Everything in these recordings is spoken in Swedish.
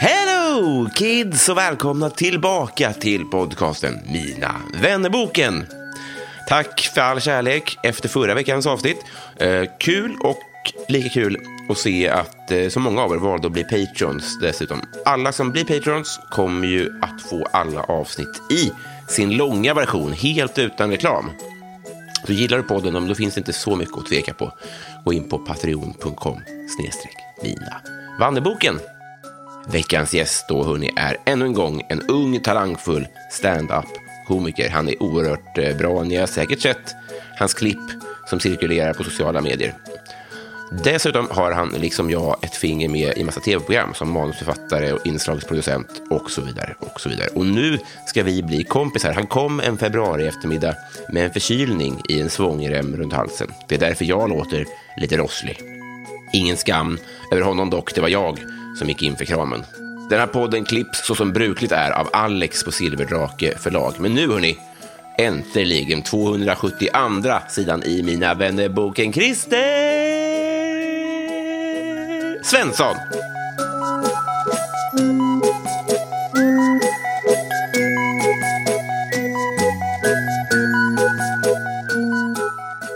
Hello kids och välkomna tillbaka till podcasten Mina vännerboken. Tack för all kärlek efter förra veckans avsnitt. Eh, kul och lika kul att se att eh, så många av er valde att bli patrons dessutom. Alla som blir patrons kommer ju att få alla avsnitt i sin långa version helt utan reklam. Så gillar du podden, ja, men då finns det inte så mycket att tveka på. Gå in på patreon.com snedstreck mina Vanderboken. Veckans gäst då, hörni, är ännu en gång en ung talangfull stand-up komiker. Han är oerhört eh, bra. Ni har säkert sett hans klipp som cirkulerar på sociala medier. Dessutom har han, liksom jag, ett finger med i massa tv-program som manusförfattare och inslagsproducent och så vidare. Och så vidare. Och nu ska vi bli kompisar. Han kom en februari eftermiddag med en förkylning i en svångrem runt halsen. Det är därför jag låter lite rosslig. Ingen skam över honom dock, det var jag som gick in för kramen. Den här podden klipps så som brukligt är av Alex på Silverdrake förlag. Men nu hörni, äntligen 272 sidan i Mina vänner-boken Christer Svensson.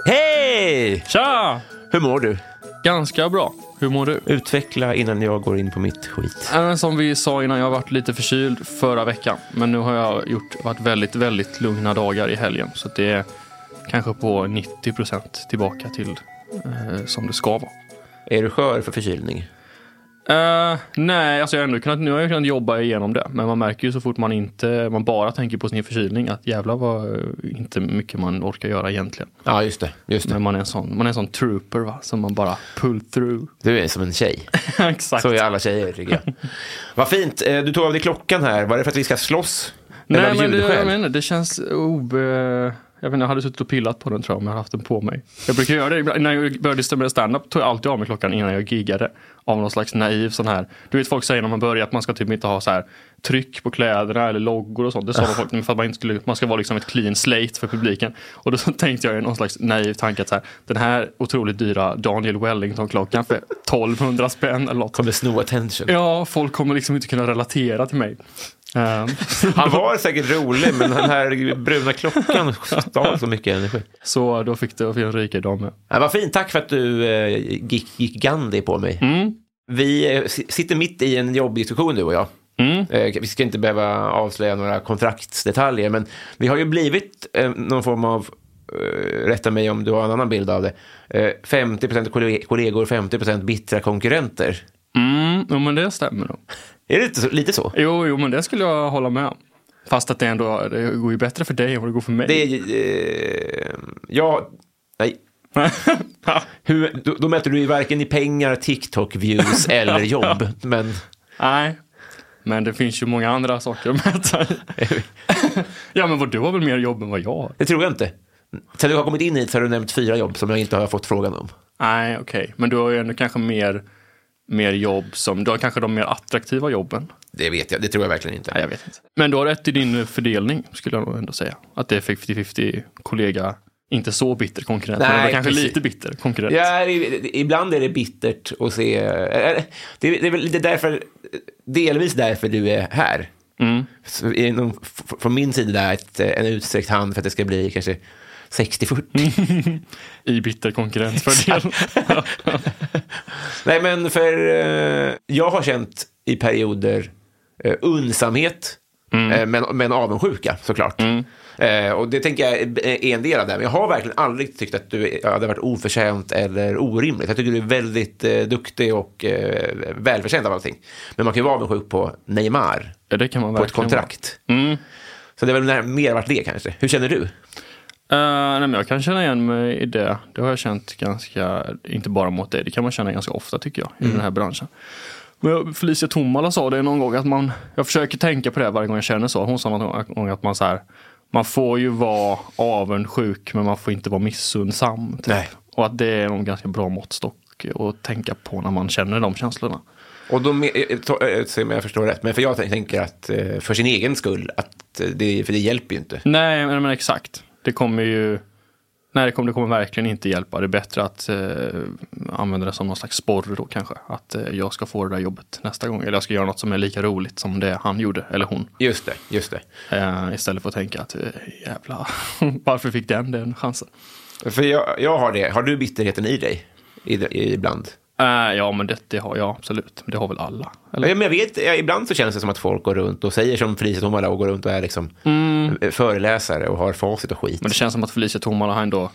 Hej! Tja! Hur mår du? Ganska bra. Hur mår du? Utveckla innan jag går in på mitt skit. Äh, Som vi sa innan, jag har varit lite förkyld förra veckan. Men nu har jag gjort, varit väldigt, väldigt lugna dagar i helgen. Så att det är kanske på 90 procent tillbaka till eh, som det ska vara. Är du skör för förkylning? Eh, nej, alltså jag har ändå kunnat, nu har jag kunnat jobba igenom det. Men man märker ju så fort man inte, man bara tänker på sin förkylning att jävlar vad eh, inte mycket man orkar göra egentligen. Ja, just det. Just Men man är en sån, man är en sån trooper va, som man bara pull through. Du är som en tjej. Exakt. Så är alla tjejer, tycker jag. Vad fint. Eh, Du tog av dig klockan här. Var det för att vi ska slåss? Eller Nej, av men det, ljudskäl? jag menar, det känns obe... Jag, vet inte, jag hade suttit och pillat på den tror jag om jag hade haft den på mig. Jag brukar göra det ibland. När jag började med stand-up tog jag alltid av mig klockan innan jag giggade. Av någon slags naiv sån här. Du vet folk säger när man börjar att man ska typ inte ha så här tryck på kläderna eller loggor och sånt. Det sa de folk för att man inte skulle, man ska vara liksom ett clean slate för publiken. Och då så tänkte jag i någon slags naiv tanke att så här, den här otroligt dyra Daniel Wellington-klockan för 1200 spänn eller något. Kommer sno attention. Ja, folk kommer liksom inte kunna relatera till mig. Ehm, Han var säkert rolig, men den här bruna klockan stal så mycket energi. Så då fick du en rikedom med. Ja, vad fint. Tack för att du eh, gick, gick Gandhi på mig. Vi eh, si- sitter mitt i en jobbdiskussion, du och jag. Eh, Vi ska inte behöva avslöja några kontraktsdetaljer, men vi har ju blivit eh, någon form av, eh, rätta mig om du har en annan bild av det, eh, 50 kolle- kollegor, 50 bittra konkurrenter. Mm, jo, men det stämmer nog. Är det inte så, lite så? Jo, jo, men det skulle jag hålla med om. Fast att det ändå det går ju bättre för dig än vad det går för mig. Det är, eh, ja, nej. Hur, då, då mäter du ju varken i pengar, TikTok-views eller jobb. Men Nej, men det finns ju många andra saker att mäta i. Ja, men vad du har väl mer jobb än vad jag har? Det tror jag inte. Sen du har kommit in hit så har du nämnt fyra jobb som jag inte har fått frågan om. Nej, okej. Men du har ju ändå kanske mer, mer jobb som, du har kanske de mer attraktiva jobben. Det vet jag, det tror jag verkligen inte. Nej, jag vet inte. Men du har rätt i din fördelning, skulle jag nog ändå säga. Att det är 50-50 kollega, inte så bitter konkurrent, men Nej, ändå kanske precis. lite bitter konkurrent. Ja, i- ibland är det bittert att se... eh, Det är, det är väl lite därför, delvis därför du är här. Så är det någon- f- Från min sida där ett, en utsträckt hand för att det ska bli kanske 60-40. I bitter konkurrensfördel. Nej, men för eh, jag har känt i perioder eh, unsamhet Eh, Men, men avundsjuka såklart. Eh, och det tänker jag är en del av det. här. Men jag har verkligen aldrig tyckt att du är- hade varit oförtjänt eller orimligt. Jag tycker du är väldigt eh, duktig och eh, välförtjänt av allting. Men man kan ju vara avundsjuk på Neymar Ja, det kan man på ett verkligen vara. kontrakt. Så det är väl när- mer varit det kanske. Hur känner du? Eh, nej, men jag kan känna igen mig i det. Det har jag känt ganska, inte bara mot dig, det kan man känna ganska ofta tycker jag Mm. i den här branschen. Men jag- Felicia Tomala sa det någon gång, att man, jag försöker tänka på det varje gång jag känner så. Hon sa någon gång att man så här, man får ju vara avundsjuk men man får inte vara missundsam. Typ. Nej. Och att det är en ganska bra måttstock att tänka på när man känner de känslorna. Och då, me- eh, ta- eh, se om jag förstår rätt, men för jag tän- tänker att eh, för sin egen skull, att eh, det, för det hjälper ju inte. Nej, men, men exakt. Det kommer ju... Nej, det kommer, det kommer verkligen inte hjälpa. Det är bättre att eh, använda det som någon slags sporr då kanske. Att eh, jag ska få det där jobbet nästa gång. Eller jag ska göra något som är lika roligt som det han gjorde, eller hon. Just det, just det. Eh, istället för att tänka att eh, jävla, varför fick den den chansen? För jag, jag har det. Har du bitterheten i dig? I, i, ibland? Eh, ja, men det, det har jag absolut. Men det har väl alla? Eller? Ja, men jag vet, ja, ibland så känns det som att folk går runt och säger som Felicia Tomala och går runt och är liksom eh, föreläsare och har facit och skit. Mm. Men det känns som att Felicia Tomala har ändå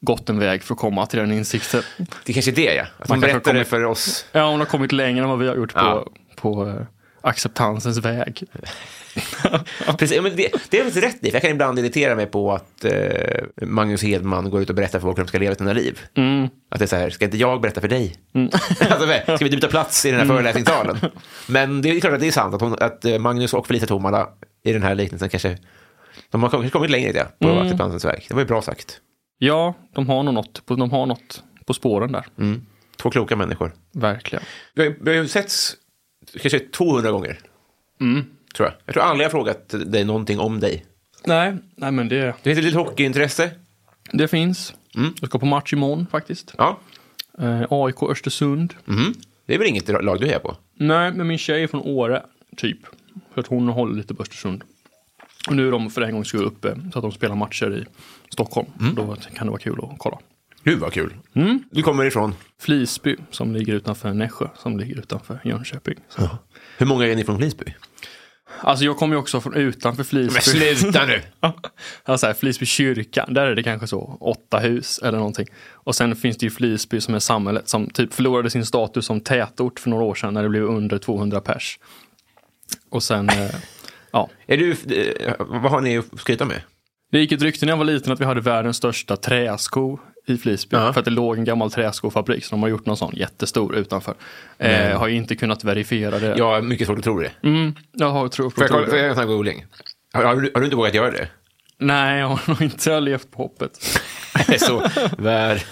gått en väg för att komma till den insikten. Det kanske är det, ja. Att Man de kanske berättar det kommer- för oss. Ja, hon har kommit längre än vad vi har gjort Ja. på, på eh, acceptansens väg. Precis, ja, men det, det är väl rätt i, för jag kan ibland irritera mig på att eh, Magnus Hedman går ut och berättar för folk hur de ska leva sina liv. Mm. Att det är så här, ska inte jag berätta för dig? alltså, ska vi inte byta plats i den här Mm. föreläsningssalen? Men det är klart att det är sant att, hon, att eh, Magnus och Felicia Tomala i den här liknelsen kanske, de har kommit, kommit längre i det, på Mm. acceptansens väg. Det var ju bra sagt. Ja, de har nog något, på- de har något på spåren där. Mm. Två kloka människor. Verkligen. Vi har, ju- vi har ju setts kanske 200 gånger. Tror jag. Jag tror aldrig jag har frågat dig någonting om dig. Nej, nej men det, Du heter lite hockeyintresse. det finns. Mm. Jag ska på match imorgon faktiskt. Ja. Eh, AIK Östersund. Mm. Det är väl inget lag du är på? Nej, men min tjej är från Åre, typ. Så att hon håller lite på Östersund. Och nu är de för en gångs skull uppe, så att de spelar matcher i Stockholm. Mm. Då kan det vara kul att kolla. Gud vad kul. Du kommer ifrån? Flisby, som ligger utanför Nässjö, som ligger utanför Jönköping. Så. Hur många är ni från Flisby? Alltså jag kommer ju också från utanför Flisby. Men sluta nu! Alltså här, Flisby kyrka, där är det kanske så åtta hus eller någonting. Och sen finns det ju Flisby som är samhället som typ förlorade sin status som tätort för några år sedan när det blev under 200 pers. Och sen, eh, ja. Är du, eh, vad har ni att skryta med? Det gick ett rykte när jag var liten att vi hade världens största träsko i Flisby. Ja. För att det låg en gammal träskofabrik, så de har gjort någon sån jättestor utanför. Eh, har ju inte kunnat verifiera det. Jag har mycket svårt att tro det. Mm, jag har tror, Får jag, tror kolla, det. får jag göra en sån här googling? Har, har, du, har du inte vågat göra det? Nej, jag har nog inte jag har levt på hoppet. så vär...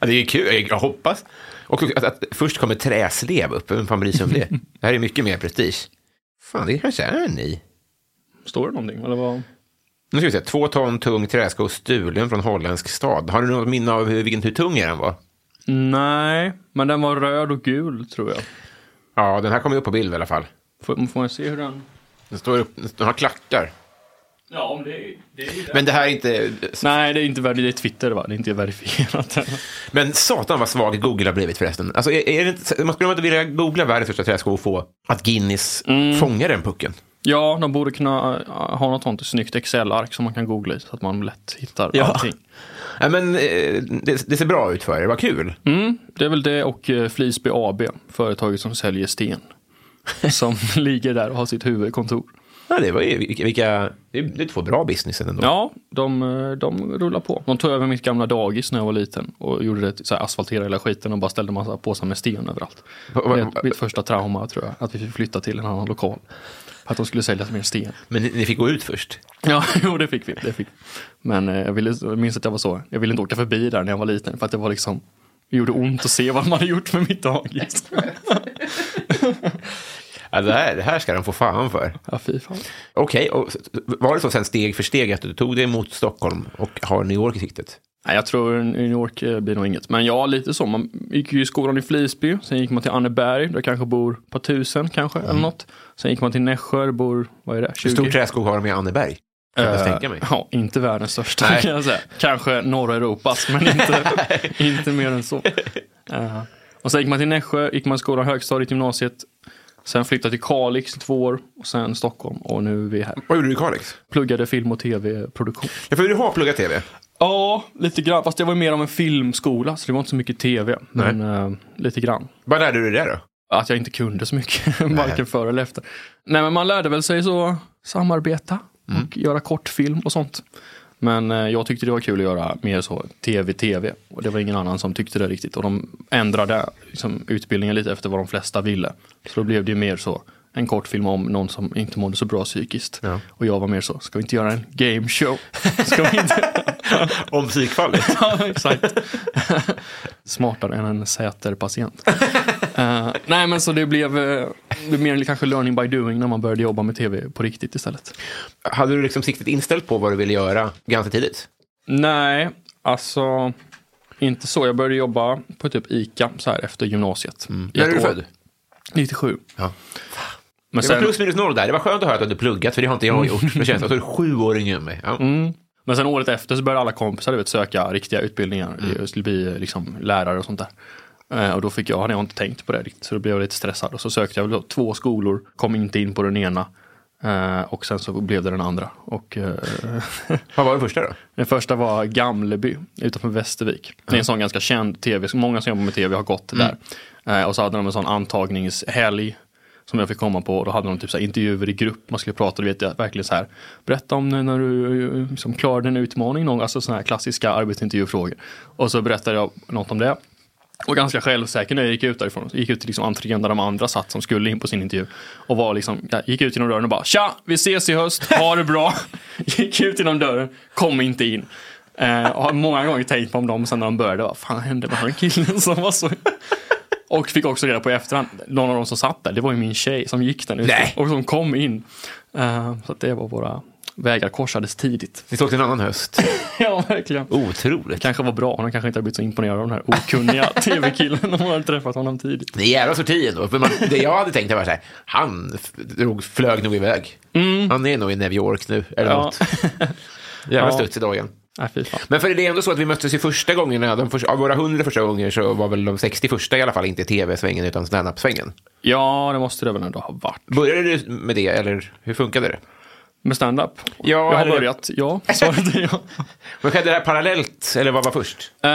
ja, det är ju kul, jag hoppas. Och att, att först kommer träslev upp, vem fan bryr sig om det? Det här är mycket mer prestige. Fan, det kanske är ni. Står det någonting? Eller vad? Nu ska vi se, två ton tung träsko stulen från holländsk stad. Har du något minne av hur, vilken, hur tung den var? Nej, men den var röd och gul tror jag. Ja, den här kommer upp på bild i alla fall. Får, får man se hur den... Den, står upp, den har klackar. Ja, om det, det är ju Men det här är inte... Nej, det är inte verifierat. Det är Twitter va? Det är inte verifierat. Men satan vad svag Google har blivit förresten. Alltså, är, är det inte, man skulle inte vilja googla världens största träsko och få att Guinness fångar den pucken. ja, de borde kunna äh, ha något sånt snyggt Excel-ark som man kan googla i så att man lätt hittar Ja. allting. Ja, men, eh, det, det ser bra ut för er, vad kul. Mm, det är väl det och eh, Flisby AB, företaget som säljer sten. Som ligger där och har sitt huvudkontor. Ja, det var ju vilka, vilka, det är- det är två bra businessen ändå. Ja, de, eh, de rullar på. De tog över mitt gamla dagis när jag var liten och gjorde det till- så här, asfalterade hela skiten och bara ställde massa påsar med sten överallt. Va- va- det är mitt första trauma tror jag, att vi fick flytta till en annan lokal. För att de skulle sälja mer sten. Men ni, ni fick gå ut först. Ja, jo, det fick vi. Det fick. vi. Men eh, jag, ville, jag minns att jag var så, jag ville inte åka förbi där när jag var liten för att det var liksom, det gjorde ont att se vad de hade gjort med mitt dagis. Ja, det, här, det här ska de få fan för. Ja, fy fan. Okej, och s- var det så sen steg för steg att du tog dig mot Stockholm och har New York i siktet? Nej, jag tror New York eh, blir nog inget. Men ja, lite så. Man gick ju i skolan i Flisby, sen gick man till Anneberg, där kanske bor ett par tusen kanske, Mm. eller något. Sen gick man till Nässjö, där bor, vad är det, 20? Hur stor träskog har de i Anneberg? Kan jag Eh, ens tänka mig. Ja, inte världens största Nej. kan jag säga. Kanske norra Europas, men inte, inte mer än så. Eh, och sen gick man till Nässjö, gick man i skolan högstadiet, gymnasiet. Sen flyttade till Kalix i två år och sen Stockholm och nu är vi här. Vad gjorde du i Kalix? Pluggade film och tv-produktion. Ja, för du har pluggat tv. Ja, lite grann. Fast det var ju mer av en filmskola så det var inte så mycket tv. Men eh, lite grann. Vad lärde du dig där då? Att jag inte kunde så mycket, varken före eller efter. Nej, men man lärde väl sig så samarbeta och göra kortfilm och sånt. Men eh, jag tyckte det var kul att göra mer så tv-tv. Och det var ingen annan som tyckte det riktigt. Och de ändrade liksom, utbildningen lite efter vad de flesta ville. Så då blev det mer så en kortfilm om någon som inte mådde så bra psykiskt. Och jag var mer så, ska vi inte göra en game show? Ska vi inte? Om psykfallet. Ja, exakt. Smartare än en säterpatient. Eh, nej, men så det blev, eh, det blev mer kanske learning by doing när man började jobba med tv på riktigt istället. Hade du liksom siktet inställt på vad du ville göra ganska tidigt? Nej, alltså inte så. Jag började jobba på typ ICA så här efter gymnasiet. I Mm. När ett är du år. född? 97. Ja. Men Det var Mm. sen, plus minus noll där. Det var skönt att höra att du hade pluggat, för det har inte jag gjort. Det känns som att du är sju år yngre än mig. Ja. men sen året efter så började alla kompisar du vet, söka riktiga utbildningar. Jag skulle bli eh, liksom, lärare och sånt där. Eh, Och då fick jag, hade jag inte tänkt på det riktigt, så då blev jag lite stressad. Och så sökte jag väl då två skolor, kom inte in på den ena. Eh, Och sen så blev det den andra. Och eh, Vad var den första då? Den första var Gamleby utanför Västervik. Det är en sån ganska känd tv, så många som jobbar med tv har gått där. Eh, och så hade de en sån antagningshelg som jag fick komma på. Och då hade de typ så här intervjuer i grupp, man skulle prata, du vet jag, verkligen så här. Berätta om när- när du eh, liksom, klarade en utmaning, någon, alltså såna här klassiska arbetsintervjufrågor. Och så berättade jag något om det. Och ganska självsäker när jag gick ut därifrån. Gick ut till liksom entrén där de andra satt som skulle in på sin intervju. Och var liksom, ja, gick ut genom dörren och bara tja, vi ses i höst, ha det bra. gick ut genom dörren, kom inte in. Eh, och har många gånger tänkt på om dem sen när de började. Vad fan hände med den killen som var så... Och fick också reda på i efterhand, någon av dem som satt där, det var ju min tjej som gick den ut Nej. och som kom in. Eh, så att det var våra vägar korsades tidigt. Ni såg till en annan höst. ja, verkligen Otroligt. kanske var bra. Hon kanske inte har blivit så imponerad av den här okunniga tv-killen om hon hade träffat honom tidigt. Det är jävla sorti ändå. För man, det jag hade tänkt var så här, han f- drog, flög nog iväg. Han är nog i New York nu, eller Ja. något. Jävla Ja. studs i dagen. Nej, fy fan. Men för det är ändå så att vi möttes ju första gångerna, de första, av våra hundra första gånger så var väl de 60 första i alla fall inte tv-svängen utan standup-svängen. Ja, det måste det väl ändå ha varit. Började du med det eller hur funkade det? Med stand-up? Ja, jag har eller- börjat. Ja, svaret är ja. Men skedde det här parallellt eller vad var först? Eh,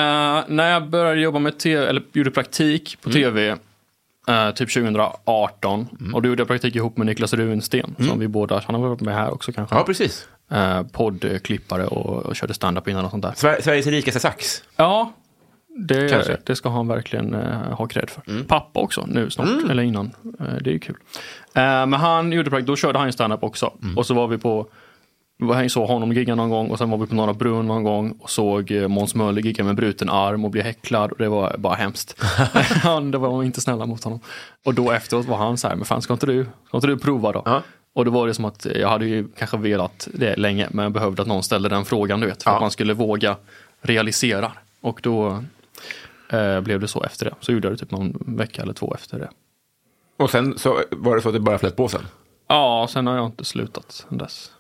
när jag började jobba med tv, eller gjorde praktik Mm. på tv, eh, typ 2018. Och då gjorde jag praktik ihop med Niklas Runsten, som vi båda, han har varit med här också kanske. Mm. Ja, precis. Eh, poddklippare och, och körde stand-up innan och sånt där. Sver- Sveriges rikaste sax. Ja, Kanske. det, det ska han verkligen eh, ha cred för. Pappa också nu snart, eller innan. Eh, det är ju kul. Eh, men han gjorde praktik, då körde han ju stand-up också. Och så var vi på, jag såg honom gigga någon gång och sen var vi på Norra Brunn någon gång och såg eh, Måns Möller gigga med bruten arm och bli häcklad och det var bara hemskt. han, det var inte snälla mot honom. Och då efteråt var han så här, men fan ska inte du, ska inte du prova då? Ja. Och då var det som att eh, jag hade ju kanske velat det länge men jag behövde att någon ställde den frågan du vet. För Ja. att man skulle våga realisera. Och då eh, blev det så efter det. Så gjorde jag det typ någon vecka eller två efter det. Och sen så var det så att det bara flöt på sen. Ja, sen har jag inte slutat sen dess.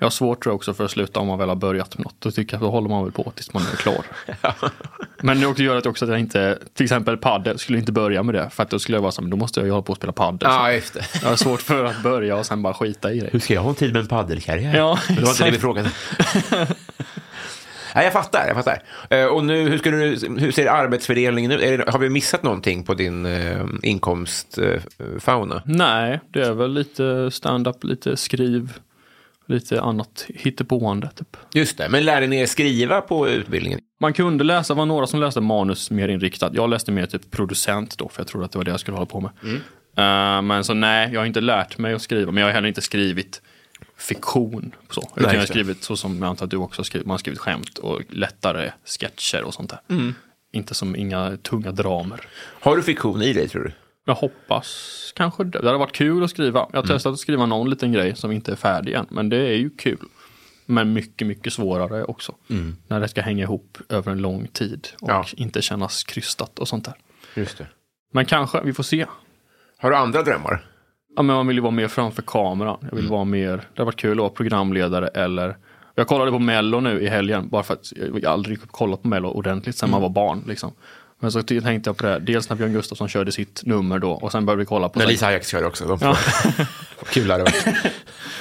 Jag har svårt tror jag också för att sluta om man väl har börjat med något. Då, tycker jag, då håller man väl på tills man är klar. Men det också gör att också att jag inte, till exempel padel, skulle inte börja med det. För att då skulle jag vara så här, men då måste jag ju hålla på och spela padel. Ja, just det. Jag har svårt för att börja och sen bara skita i det. Hur ska jag ha en tid med en paddelkarriär? Ja, Men det var inte det vi exakt. frågade. Nej, jag fattar. Jag fattar. Eh, Och nu, hur, skulle du, hur ser arbetsfördelningen ut? Är det, har vi missat någonting på din eh, inkomstfauna? Eh, Nej, det är väl lite stand-up, lite skriv, lite annat hittepåande. Typ. Just det, men lärde ni er skriva på utbildningen? Man kunde läsa, det var några som läste manus mer inriktat. Jag läste mer typ producent då, för jag trodde att det var det jag skulle hålla på med. Mm. Eh, men så nej, jag har inte lärt mig att skriva, men jag har heller inte skrivit fiktion. Så. Utan jag har just det. skrivit så som jag antar att du också har skrivit, man har skrivit skämt och lättare sketcher och sånt där. Mm. Inte som inga tunga dramer. Har du fiktion i dig, tror du? Jag hoppas kanske det. Det hade varit kul att skriva. Mm. Jag har testat att skriva någon liten grej som inte är färdig än, men det är ju kul. Men mycket, mycket svårare också. När det ska hänga ihop över en lång tid och Mm. Ja. inte kännas krystat och sånt där. Just det. Men kanske, vi får se. Har du andra drömmar? Ja, men man vill ju vara mer framför kameran. Jag vill Mm. vara mer, det hade varit kul att vara programledare eller Mm. jag kollade på Mello nu i helgen, bara för att jag har aldrig kollat på Mello ordentligt sedan man var barn. Liksom. Men så ty- tänkte jag på det, här, dels när Björn Gustafsson körde sitt nummer då och sen började vi kolla på... När så här- Lisa Ajax körde också. De Ja. Kul hade varit.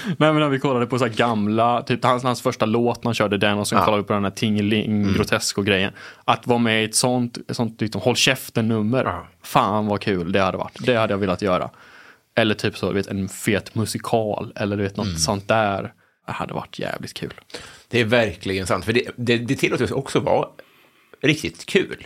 Nej men när vi kollade på så här gamla, typ hans, hans första låt när han körde den och sen Ja. Mm. kollade vi på den här tingeling, grotesco grejen. Att vara med i ett sånt, ett sånt liksom, håll käften-nummer, Ja. fan vad kul det hade varit. Det hade jag velat göra. Eller typ så, du vet, en fet musikal eller du vet, något Mm. sånt där. Det hade varit jävligt kul. Det är verkligen sant, för det, det, det tillåter oss också vara riktigt kul.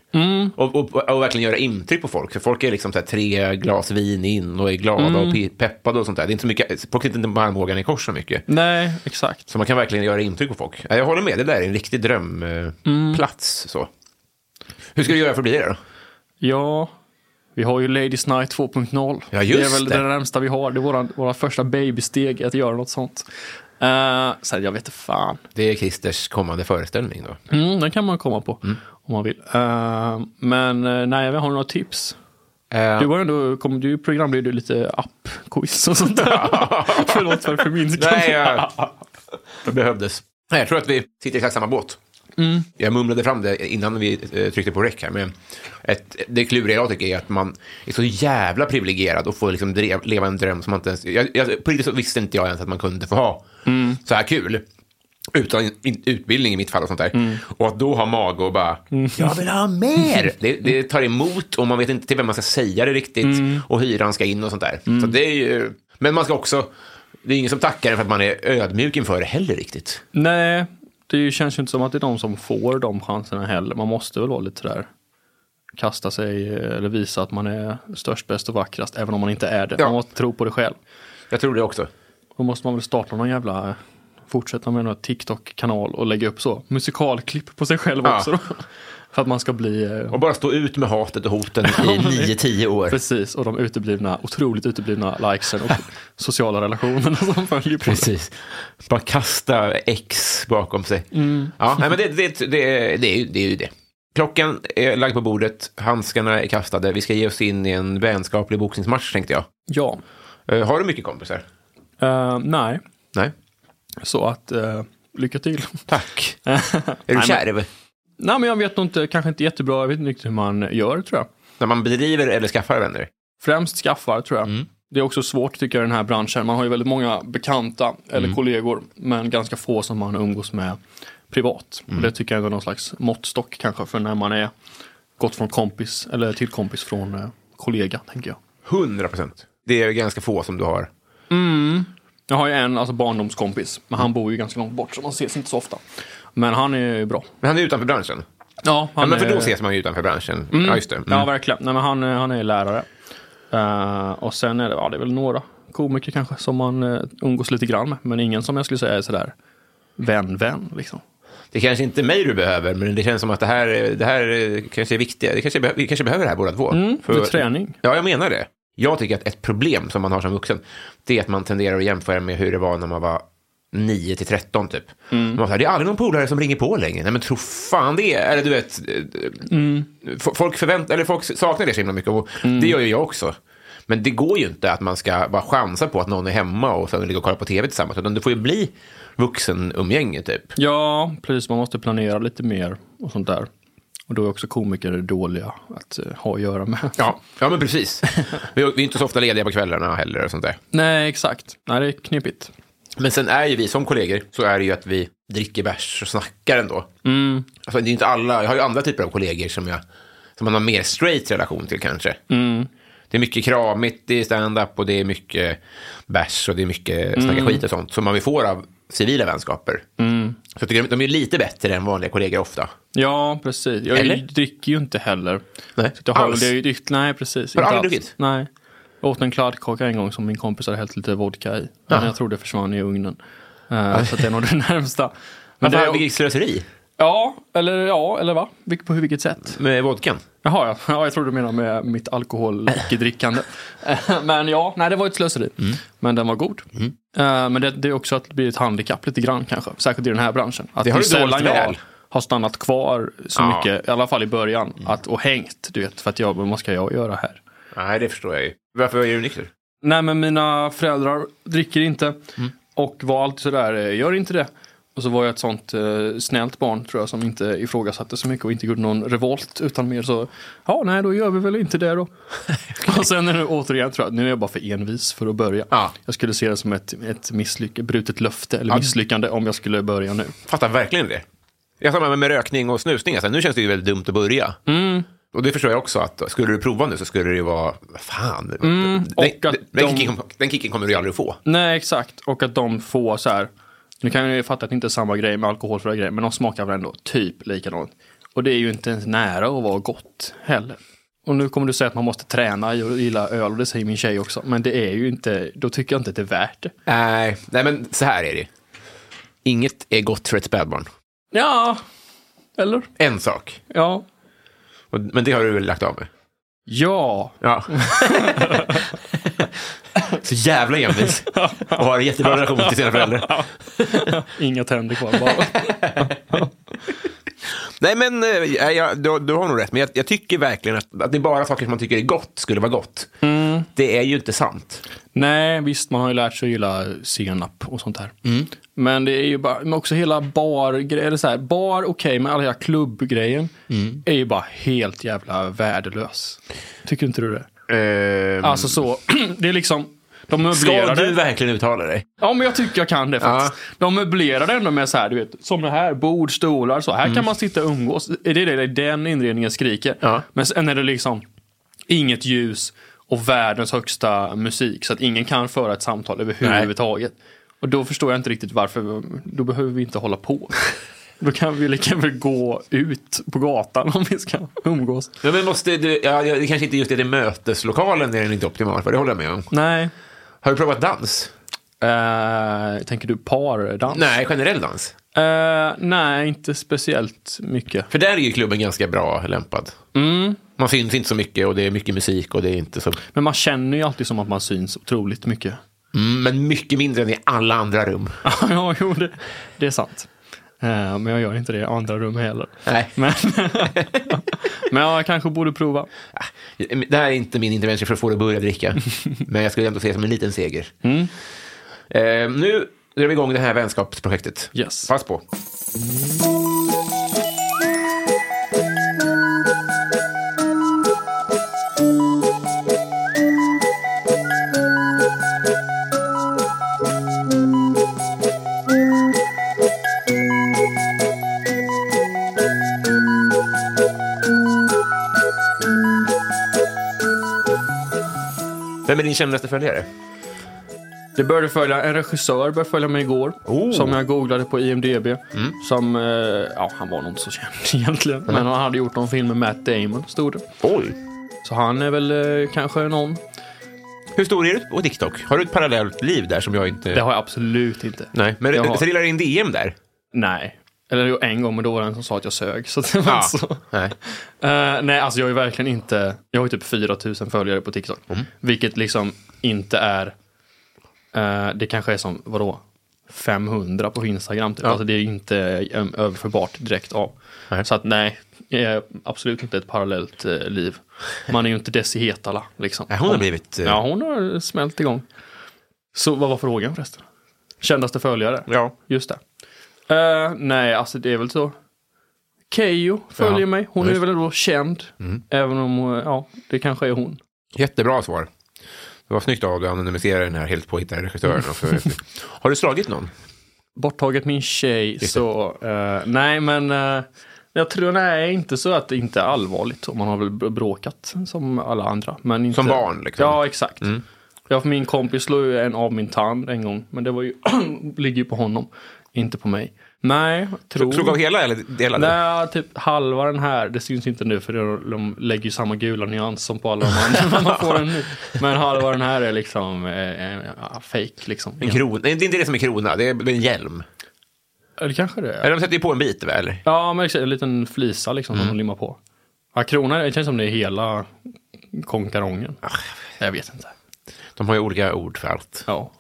Och, och, och verkligen göra intryck på folk. För folk är liksom så här tre glas vin in och är glada och pe- peppade och sånt där. Det är inte så mycket, folk sitter inte med armbågarna i kors så mycket. Nej, exakt. Så man kan verkligen göra intryck på folk. Ja, Jag håller med, det där är en riktig drömplats. så. Hur ska du göra för att bli det då? Ja, vi har ju Ladies Night 2.0. Ja, just det är väl det. det närmsta vi har. Det är våra, våra första babysteg att göra något sånt. Uh, sen jag vet inte fan. Det är Christers kommande föreställning då. Mm, den kan man komma på om man vill. Eh, men uh, nej, har du några tips? Eh, Du var ju ändå, kom, du programledde ju lite appquiz och sånt där. Förlåt för förminskandet. Nej, jag... det behövdes. Mm. Nej, jag tror att vi sitter i exakt samma båt. Jag mumlade fram det innan vi eh, tryckte på rec här. Men ett, det kluriga jag tycker är att man är så jävla privilegierad och får liksom drev, leva en dröm som man inte ens... Jag, jag, på riktigt så visste inte jag ens att man kunde få ha så här kul. Utan in- utbildning i mitt fall och sånt där. Och att då ha mage och bara, jag vill ha mer! Det, det tar emot och man vet inte till vem man ska säga det riktigt. Mm. Och hyran ska in och sånt där. Så det är ju, men man ska också, det är ingen som tackar en för att man är ödmjuk inför det heller riktigt. nej, det känns ju inte som att det är de som får de chanserna heller. Man måste väl vara lite där kasta sig eh, eller visa att man är störst, bäst och vackrast, även om man inte är det. Ja. Man måste tro på det själv. Jag tror det också. Då måste man väl starta någon jävla, eh, fortsätta med någon TikTok-kanal och lägga upp så, musikalklipp på sig själv Ja. också. Då. För att man ska bli eh, Och bara stå ut med hatet och hoten i 9-10 år. Precis, och de uteblivna, otroligt uteblivna likesen och sociala relationerna som följer på det. Precis. Bara kasta X bakom sig. Ja, nej, men det, det, det, det, är ju, det är ju det. Klockan är lagd på bordet, handskarna är kastade. Vi ska ge oss in i en vänskaplig boxningsmatch, tänkte jag. Ja, Eh, har du mycket kompisar? Eh, nej, Nej. så att eh, lycka till. Tack. Är men- du kärv? nej, men jag vet nog inte, kanske inte jättebra, jag vet inte riktigt hur man gör tror jag. När man bedriver eller skaffar vänner? Främst skaffar tror jag. Mm. Det är också svårt tycker jag i den här branschen. Man har ju väldigt många bekanta eller Mm. kollegor, men ganska få som man umgås med privat. Mm. Och det tycker jag är någon slags måttstock kanske för när man är gått från kompis eller till kompis från eh, kollega, tänker jag. 100 procent. Det är ju ganska få som du har. Jag har ju en alltså barndomskompis, men Mm. han bor ju ganska långt bort så man ses inte så ofta. Men han är ju bra. Men han är utanför branschen. Ja, Ja, han men för är... då ses man ju utanför branschen. Ja, just det. Mm. Ja, verkligen. Nej, men han, eh, han är ju lärare. Eh, och sen är det, ja, det är väl några komiker kanske som man uh, umgås lite grann med. Men ingen som jag skulle säga är sådär vän-vän liksom. Det kanske inte är mig du behöver, men det känns som att det här, det här kanske är viktiga. Det kanske beh- vi kanske behöver det här båda två. för träning. Ja, jag menar det. Jag tycker att ett problem som man har som vuxen, det är att man tenderar att jämföra med hur det var när man var 9 till 13 typ. Man säger, det är aldrig någon polare som ringer på längre. Nej men tro fan det är, eller du vet, eh, f- folk, förvänt, eller folk saknar det så himla mycket och det gör ju jag också. Men det går ju inte att man ska bara chansa på att någon är hemma och sen ligga och kolla på tv tillsammans, utan det får ju bli vuxenumgänge typ. Ja, precis. Man måste planera lite mer och sånt där. Och då är också komiker dåliga att eh, ha att göra med. Ja, ja men precis. Vi vi är inte så ofta lediga på kvällarna heller och sånt där. Nej, exakt. Nej, det är knepigt. Men sen är ju vi som kollegor, så är det ju att vi dricker bärs och snackar ändå. Mm. Alltså, det är ju inte alla, jag har ju andra typer av kollegor som, jag, som man har mer straight relation till kanske. Det är mycket kramigt, det är stand-up och det är mycket bärs och det är mycket snacka skit och sånt som man ju får av civila vänskaper. Så jag tycker de, de är lite bättre än vanliga kollegor ofta. Ja, precis. Jag Eller? dricker ju inte heller. Nej, Så jag har, alls. Det är ju dyrt. Nej, precis. Har du Inte aldrig alls. druckit? Nej. Jag åt en kladdkaka en gång som min kompis hade hällt lite vodka i. Men jag tror det försvann i ugnen. Eh, så att det är nog det närmsta. Men Men det fan, är, vilket slöseri ja, eller ja, eller va? Vilk, på vilket sätt? med vodkan. Jaha, ja. ja. Jag tror du menar med mitt alkoholdrickande. Mm. Eh, men ja, nej, det var ett slöseri. Men den var god. Eh, men det, det är också att det blir ett handikapp lite grann kanske. Särskilt i den här branschen. Att Det har är du dolt sällan jag väl. har stannat kvar så Ja. mycket, i alla fall i början, att, och hängt. Du vet, för att jag, vad ska jag göra här? Nej, det förstår jag ju. Varför är du nykter? Nej men mina föräldrar dricker inte och var alltid sådär, eh, gör inte det. Och så var jag ett sånt eh, snällt barn tror jag som inte ifrågasatte så mycket och inte gjorde någon revolt utan mer så, ja nej då gör vi väl inte det då. Och sen är det återigen tror jag, nu är jag bara för envis för att börja. Ja. Jag skulle se det som ett, ett misslyck- brutet löfte eller misslyckande om jag skulle börja nu. Fattar verkligen det. Jag samma med, med rökning och snusning. Alltså, nu känns det ju väldigt dumt att börja. Och det förstår jag också, att skulle du prova nu så skulle det ju vara, fan, den, och att den, den, de- kicken, den kicken kommer du ju aldrig få. Nej, exakt. Och att de får så här. Nu kan jag ju fatta att det inte är samma grej med alkoholfria grejer, men de smakar väl ändå typ likadant. Och det är ju inte ens nära att vara gott heller. Och nu kommer du säga att man måste träna i att gilla öl och det säger min tjej också. Men det är ju inte, då tycker jag inte att det är värt det. Nej, nej men så här är det ju. Inget är gott för ett spädbarn. Ja, eller? En sak. Ja. Och, men det har du väl lagt av med? Ja. Ja. så jävla envis. Och har en jättebra relation till sina föräldrar. Inga tänder kvar bara. Nej, men eh, ja, ja, du, du har nog rätt. Men jag, jag tycker verkligen att, att det är bara saker som man tycker är gott skulle vara gott. Det är ju inte sant. Nej, visst, man har ju lärt sig att gilla senap och sånt där. Mm. Men det är ju bara, men också hela bar, eller så här, bar okej, men alla hela klubbgrejen Mm. är ju bara helt jävla värdelös. Tycker inte du det? Ehm, Alltså så, det är liksom, de ska möblerade. du verkligen uttala dig? Ja, men jag tycker jag kan det faktiskt. De möblerade ändå med så här, du vet, som det här, bord, stolar, så. Här kan man sitta och umgås. Är det det den inredningen skriker? Mm. Ja. Men sen är det liksom inget ljus och världens högsta musik så att ingen kan föra ett samtal överhuvudtaget. Och då förstår jag inte riktigt varför, då behöver vi inte hålla på. Då kan vi lika väl gå ut på gatan om vi ska umgås. Ja, men måste du, ja, ja, det kanske inte just är det möteslokalen är den inte optimal för, det håller jag med om. Nej. Har du provat dans? Eh, tänker du pardans? Nej, generell dans. Eh, nej, inte speciellt mycket. För där är ju klubben ganska bra lämpad. Man syns inte så mycket och det är mycket musik och det är inte så... Men man känner ju alltid som att man syns otroligt mycket. Mm, men mycket mindre än i alla andra rum. ja, jo, det, det är sant. Eh, Men jag gör inte det i andra rum heller. Nej. Men, men jag kanske borde prova. Det här är inte min intervention för att få dig att börja dricka. men jag skulle ändå se det som en liten seger. Eh, nu drar vi igång det här vänskapsprojektet. Yes. Pass på. Vem är din kändaste följare? Det började följa, en regissör började följa mig igår. Oh. Mm. Som jag googlade på IMDB. Som, eh, ja han var nog inte så känd egentligen. Men han hade gjort någon film med Matt Damon, stod det. Oj. Så han är väl eh, kanske någon. Hur stor är du på TikTok? Har du ett parallellt liv där som jag inte... Det har jag absolut inte. Nej, men Jag det har- trillar in DM där? Nej. Eller jo, en gång, men då var det en som sa att jag sög. Så det var inte så. Nej. Eh, nej, alltså jag är verkligen inte, jag har ju typ 4000 följare på TikTok. Mm. Vilket liksom inte är, eh, det kanske är som, vadå, 500 på Instagram typ. Alltså det är inte eh, överförbart direkt av. Nej. Så att nej, jag är absolut inte ett parallellt eh, liv. Man är ju inte Desi Hetala liksom. Nej, hon har Om- blivit... eh, Ja, hon har smält igång. Så vad var frågan förresten? Kändaste följare? Ja. Just det. Eh, nej, alltså det är väl så. Keyyo följer Ja, mig. Hon är just. Mm. väl då känd. Även om, eh, ja, det kanske är hon. Jättebra svar. Det var snyggt av dig att anonymisera den här helt påhittade regissören. Och så- har du slagit någon? Borttaget min tjej, det. så eh, nej men eh, jag tror nej, inte så att det inte är allvarligt. Och Man har väl br- bråkat som alla andra. Men inte, Som barn, liksom. Ja, exakt. Jag, min kompis slog ju en av min tand en gång, men det var ju, ligger ju på honom, inte på mig. Nej, jag tror... Slog av hela eller delade? Nej, typ halva den här. Det syns inte nu för de- de lägger ju samma gula nyans som på alla de andra. Man får den nu. Men halva den här är liksom eh, eh, ja, fake liksom. En krona? Nej, det är inte det som är krona, det är en hjälm. Eller kanske det är. Eller de sätter ju på en bit väl? Ja, men exakt, en liten flisa liksom som de limmar på. Ja, krona, det känns som det är hela konkarongen. Ah, Jag vet inte. De har ju olika ord för allt. Ja.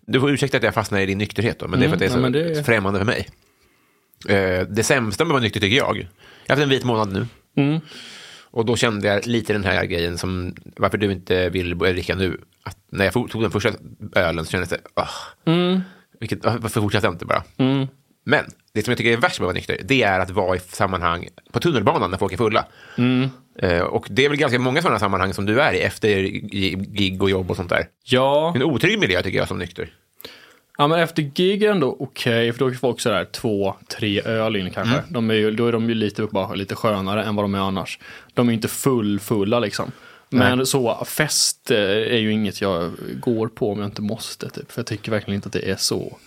Du får ursäkta att jag fastnar i din nykterhet då, men det är för nej, att Mm, men det är så det- främmande för mig. Eh, Det sämsta med att vara nykter tycker jag. Jag har haft en vit månad nu. Mm. Och då kände jag lite den här grejen som, varför du inte vill börja dricka nu. Att när Mm. jag for- tog den första ölen så kändes det, ah, vilket, ah, varför fortsatte jag inte bara? Men det som jag tycker är värst med att vara nykter, det är att vara i sammanhang på tunnelbanan när folk är fulla. Eh, Och det är väl ganska många sådana sammanhang som du är i, efter gi- gig och jobb och sånt där. Ja. En otrygg miljö tycker jag som nykter. Ja men efter gig är ändå okej, för då är folk sådär två, tre öl in kanske. De är ju, då är de ju lite, bara, lite skönare än vad de är annars. De är ju inte full-fulla liksom. Men så, fest eh, är ju inget jag går på om jag inte måste. Typ. För jag tycker verkligen inte att det är så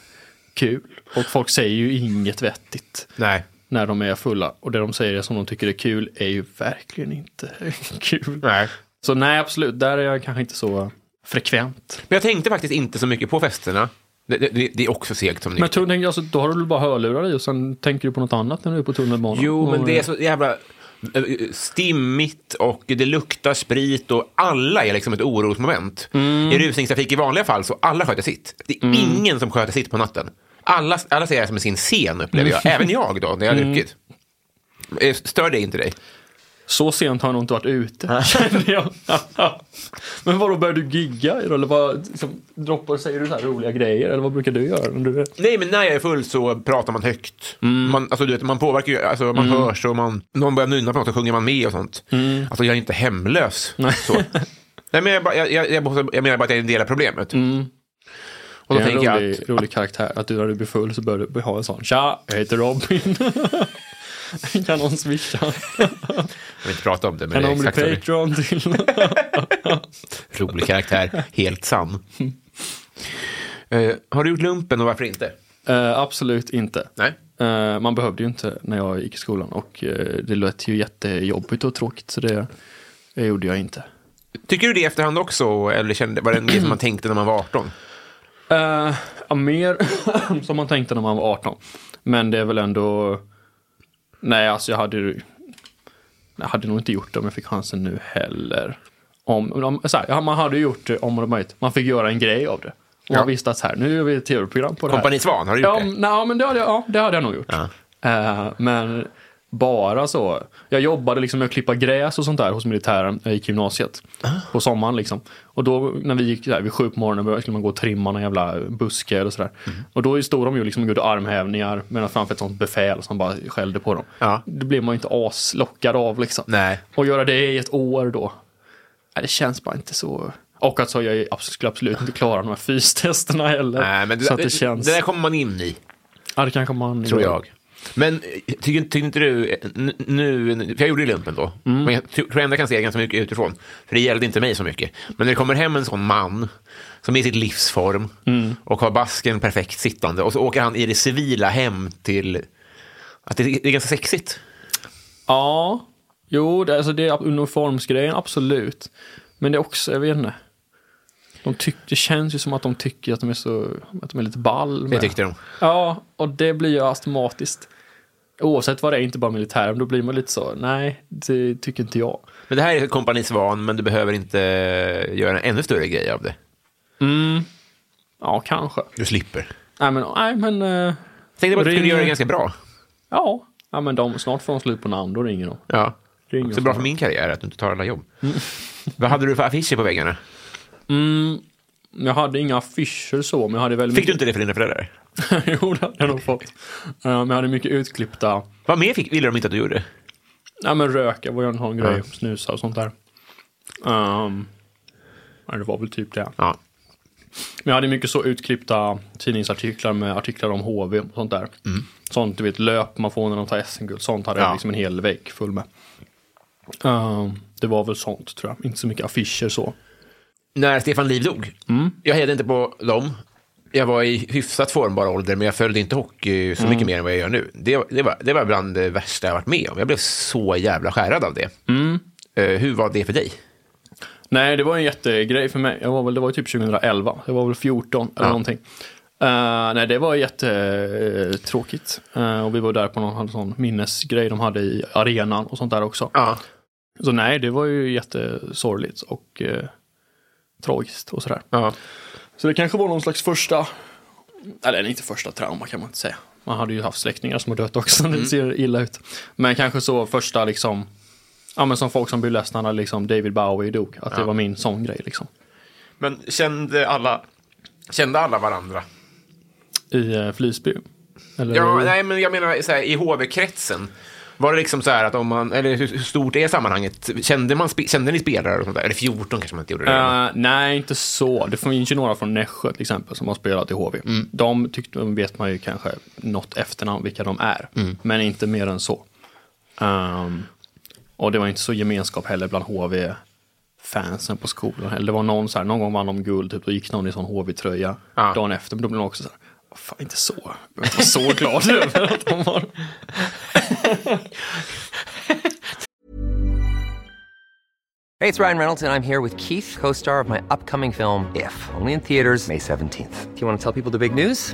kul. Och folk säger ju inget vettigt Nej. när de är fulla. Och det de säger som de tycker är kul är ju verkligen inte kul. Nej. Så nej, absolut, där är jag kanske inte så frekvent. Men jag tänkte faktiskt inte så mycket på festerna. Det, det- det, det är också segt som Men nykter. tror, tänker, alltså, då har du väl bara hörlurar i och sen tänker du på något annat när du är på tunnelbanan? Jo, men Och, det är eh, så jävla eh, stimmigt och det luktar sprit och alla är liksom ett orosmoment. I rusningstrafik i vanliga fall så alla sköter sitt. Det Mm. är ingen som sköter sitt på natten. Alla, alla ser det här som sin scen upplever jag, Mm. även jag då när jag har druckit. Eh, Stör det inte dig? Så sent har jag nog inte varit ute, känner jag. men vadå, börjar du gigga? Eller vad, liksom, droppar, säger du så här roliga grejer? Eller vad brukar du göra? När du är... Nej, men när jag är full så pratar man högt. Man, alltså, du vet, man påverkar ju, alltså, man hörs och man, någon börjar nynna på något och sjunger man med och sånt. Alltså jag är inte hemlös. Så. Nej, men jag, bara- jag, jag, jag, måste- jag menar bara att jag är en del av problemet. Och då det är en tänker jag rolig, att rolig karaktär, att du när du blir full så börjar du ha en sån. Tja, jag heter Robin. kan någon swisha? Jag vill inte prata om det, men Kan det är någon bli exakt samma Patreon till? rolig karaktär. Helt sann. Mm. Eh, har du gjort lumpen och varför inte? Eh, absolut inte. Nej. Eh, man behövde ju inte när jag gick i skolan och eh, det lät ju jättejobbigt och tråkigt så det, det gjorde jag inte. Tycker du det i efterhand också? Eller kände, var det en grej som man tänkte när man var 18? Eh, ja, mer som man tänkte när man var 18. Men det är väl ändå... Nej, alltså jag hade ju- Jag hade nog inte gjort det om jag fick chansen nu heller. Om, om, så här, ja, man hade ju gjort det om och om möjligt. Man fick göra en grej av det. Och Ja. man visste att så här, nu gör vi ett tv-program på det här. Kompani Svan, har du gjort Ja, det? nej, men det hade jag, ja, det hade jag nog gjort. Ja. Eh, men bara så. Jag jobbade liksom med att klippa gräs och sånt där hos militären när jag gick i gymnasiet. Ah. På sommaren liksom. Och då när vi gick där vid sju på morgonen började skulle man gå och trimma någon jävla buske och sådär. Mhm. Och då stod de ju liksom och gjorde armhävningar medan framför ett sånt befäl som bara skällde på dem. Ja. Det blev man ju inte aslockad av liksom. Nej. Och göra det i ett år då. Nej, det känns bara inte så. Och att så jag är absolut, skulle absolut inte klara de här fystesterna heller. Nej, men det, så att det, det, känns... det där kommer man in i. Ja, det kanske man tror gör. jag. Men eh, tycker, tycker inte du, eh, n- nu, för jag gjorde ju lumpen då, men jag tror ändå jag kan se det ganska mycket utifrån, för det gällde inte mig så mycket. Men när det kommer hem en sån man som är i sitt livsform och har basken perfekt sittande och så åker han i det civila hem till, att det, det är ganska sexigt. Ja, jo, det, alltså det är uniformsgrejen, absolut. Men det är också, jag vet inte. De tyck, det känns ju som att de tycker att de är så, att de är lite ball. Det Med. tyckte de. Ja, och det blir ju automatiskt. Oavsett vad det är, inte bara militären, då blir man lite så, nej, det tycker inte jag. Men det här är kompani Svan, men du behöver inte göra en ännu större grej av det. Ja, kanske. Du slipper. Nej, men, nej, men eh, Tänkte bara att du skulle Ring- göra det ganska bra. ja. ja men de, snart får de slut på namn, då ringer de. Ja. Mm. Ring Så oss. bra för min karriär att du inte tar alla jobb. Vad hade du för affischer på väggarna? Jag hade inga affischer så, men jag hade väldigt Fick du inte det för dina föräldrar? mycket... jo, det hade jag nog fått. Eh, men jag hade mycket utklippta... Vad mer fick, ville de inte att du gjorde? Nej men röka var ju en sån grej, Ja. snusa och sånt där. Ehm, ja, det var väl typ det. Ja. Men jag hade mycket så utklippta tidningsartiklar med artiklar om HV och sånt där. Sånt du vet, löp man får när de tar SM-guld, sånt hade Mm. Ja. jag liksom en hel vägg full med. Ehm, det var väl sånt tror jag, inte så mycket affischer så. När Stefan Liv dog. Jag hejade inte på dem. Jag var i hyfsat formbar ålder, men jag följde inte hockey så mycket mer än vad jag gör nu. Det, det, var, det var bland det värsta jag varit med om. Jag blev så jävla skärrad av det. Eh, hur var det för dig? Nej, det var en jättegrej för mig. Jag var väl, det var ju typ 2011. Jag var väl 14 eller Ja. någonting. Eh, nej, det var jättetråkigt. Uh, och vi var där på någon sån minnesgrej de hade i arenan och sånt där också. Ja. Så nej, det var ju jättesorgligt och eh, tragiskt och sådär. ja. Så det kanske var någon slags första, eller inte första trauma kan man inte säga. Man hade ju haft släktingar som har dött också, Mm. det ser illa ut. Men kanske så första liksom, ja men som folk som blev ledsna när liksom David Bowie dog, att det var min sån grej liksom. Men kände alla, kände alla varandra? I eh, Flisby. Eller, Ja, nej, men jag menar så här, i HV-kretsen. Var det liksom så här att om man, eller hur hur stort är sammanhanget? Kände, man, spe- kände ni spelare och sånt där? Eller 14 kanske man inte gjorde det. Eh, nej, inte så. Det finns ju några från Nässjö till exempel som har spelat i HV. Mm. De tyckte, vet man ju kanske något efternamn vilka de är, Mm. men inte mer än så. Ehm, och det var inte så gemenskap heller bland HV-fansen på skolan. Eller det var någon så här, någon gång vann de guld, typ, då gick någon i sån HV-tröja Ja. dagen efter, men då blev de också så här, "Åh, fan inte så, jag var inte så glad över att de var... Hey, it's Ryan Reynolds, and I'm here with Keith, co star of my upcoming film, If, only in theaters, May 17th. Do you want to tell people the big news?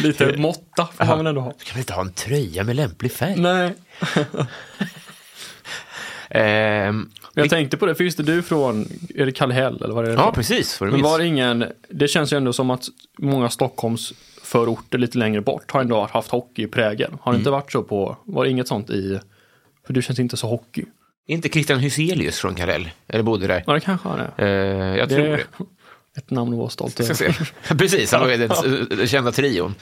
Lite måtta får man väl ändå ha. Kan man inte ha en tröja med lämplig färg? Nej. Ehm, Jag tänkte på det, för just det, du är från, är det Kallhäll eller vad är det? ja, ifrån? precis. Var det Men minst. var det ingen, det känns ju ändå som att många Stockholms förorter lite längre bort har ändå haft hockey i prägen. Har det Mm. inte varit så på, var det inget sånt i, för du känns inte så hockey. inte Christian Hyselius från Kallell? Eller bodde där? Ja, det kanske har det. Eh, jag tror det. Ett namn att vara stolt Ska över. se. Precis, han var ju den s- s- kända trion.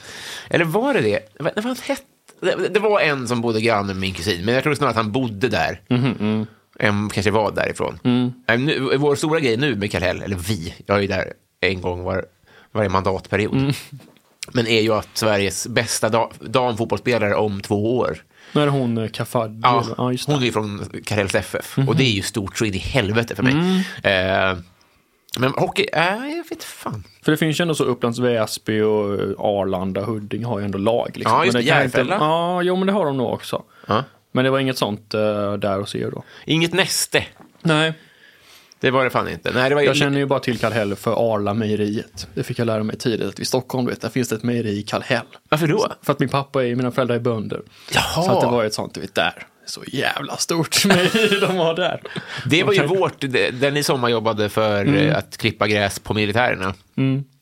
Eller var det det? Vad vad fan hette? det? Det var en som bodde granne med min kusin, men jag tror snarare att han bodde där. Mhm, mm. Än kanske var därifrån. Nej, Nu, vår stora grej nu med Kallhäll, eller vi, jag är ju där en gång var, varje mandatperiod. Mm. Men är ju att Sveriges bästa da- damfotbollsspelare om två år Nu är det hon eh, Kafadji. Ja, eller- ja, just det. Mhm. hon är ju från Karels FF och det är ju stort så in i helvete för mig. Mm. Eh, men hockey, äh, jag vet fan. För det finns ju ändå så Upplands Väsby och eh, Arlanda, Huddinge har ju ändå lag. Liksom. Ja, just Men det, kan inte- Järfälla. Ja, jo men det har de nog också. Ja. Men det var inget sånt eh, där hos er då? Inget näste, Nej, det var det fan inte. Nej, det var Jag känner ju bara till Kallhäll för Arla mejeriet. Det fick jag lära mig tidigt. Att I Stockholm du vet, där finns det ett mejeri i Kallhäll. Varför då? För att min pappa är, mina föräldrar är bönder. Jaha. Så att det var ju ett sånt, du vet, där. Så jävla stort mejeri de har där. Det var ju Okej. Mm. vårt, det- där ni sommarjobbade för eh, att klippa gräs på militärerna.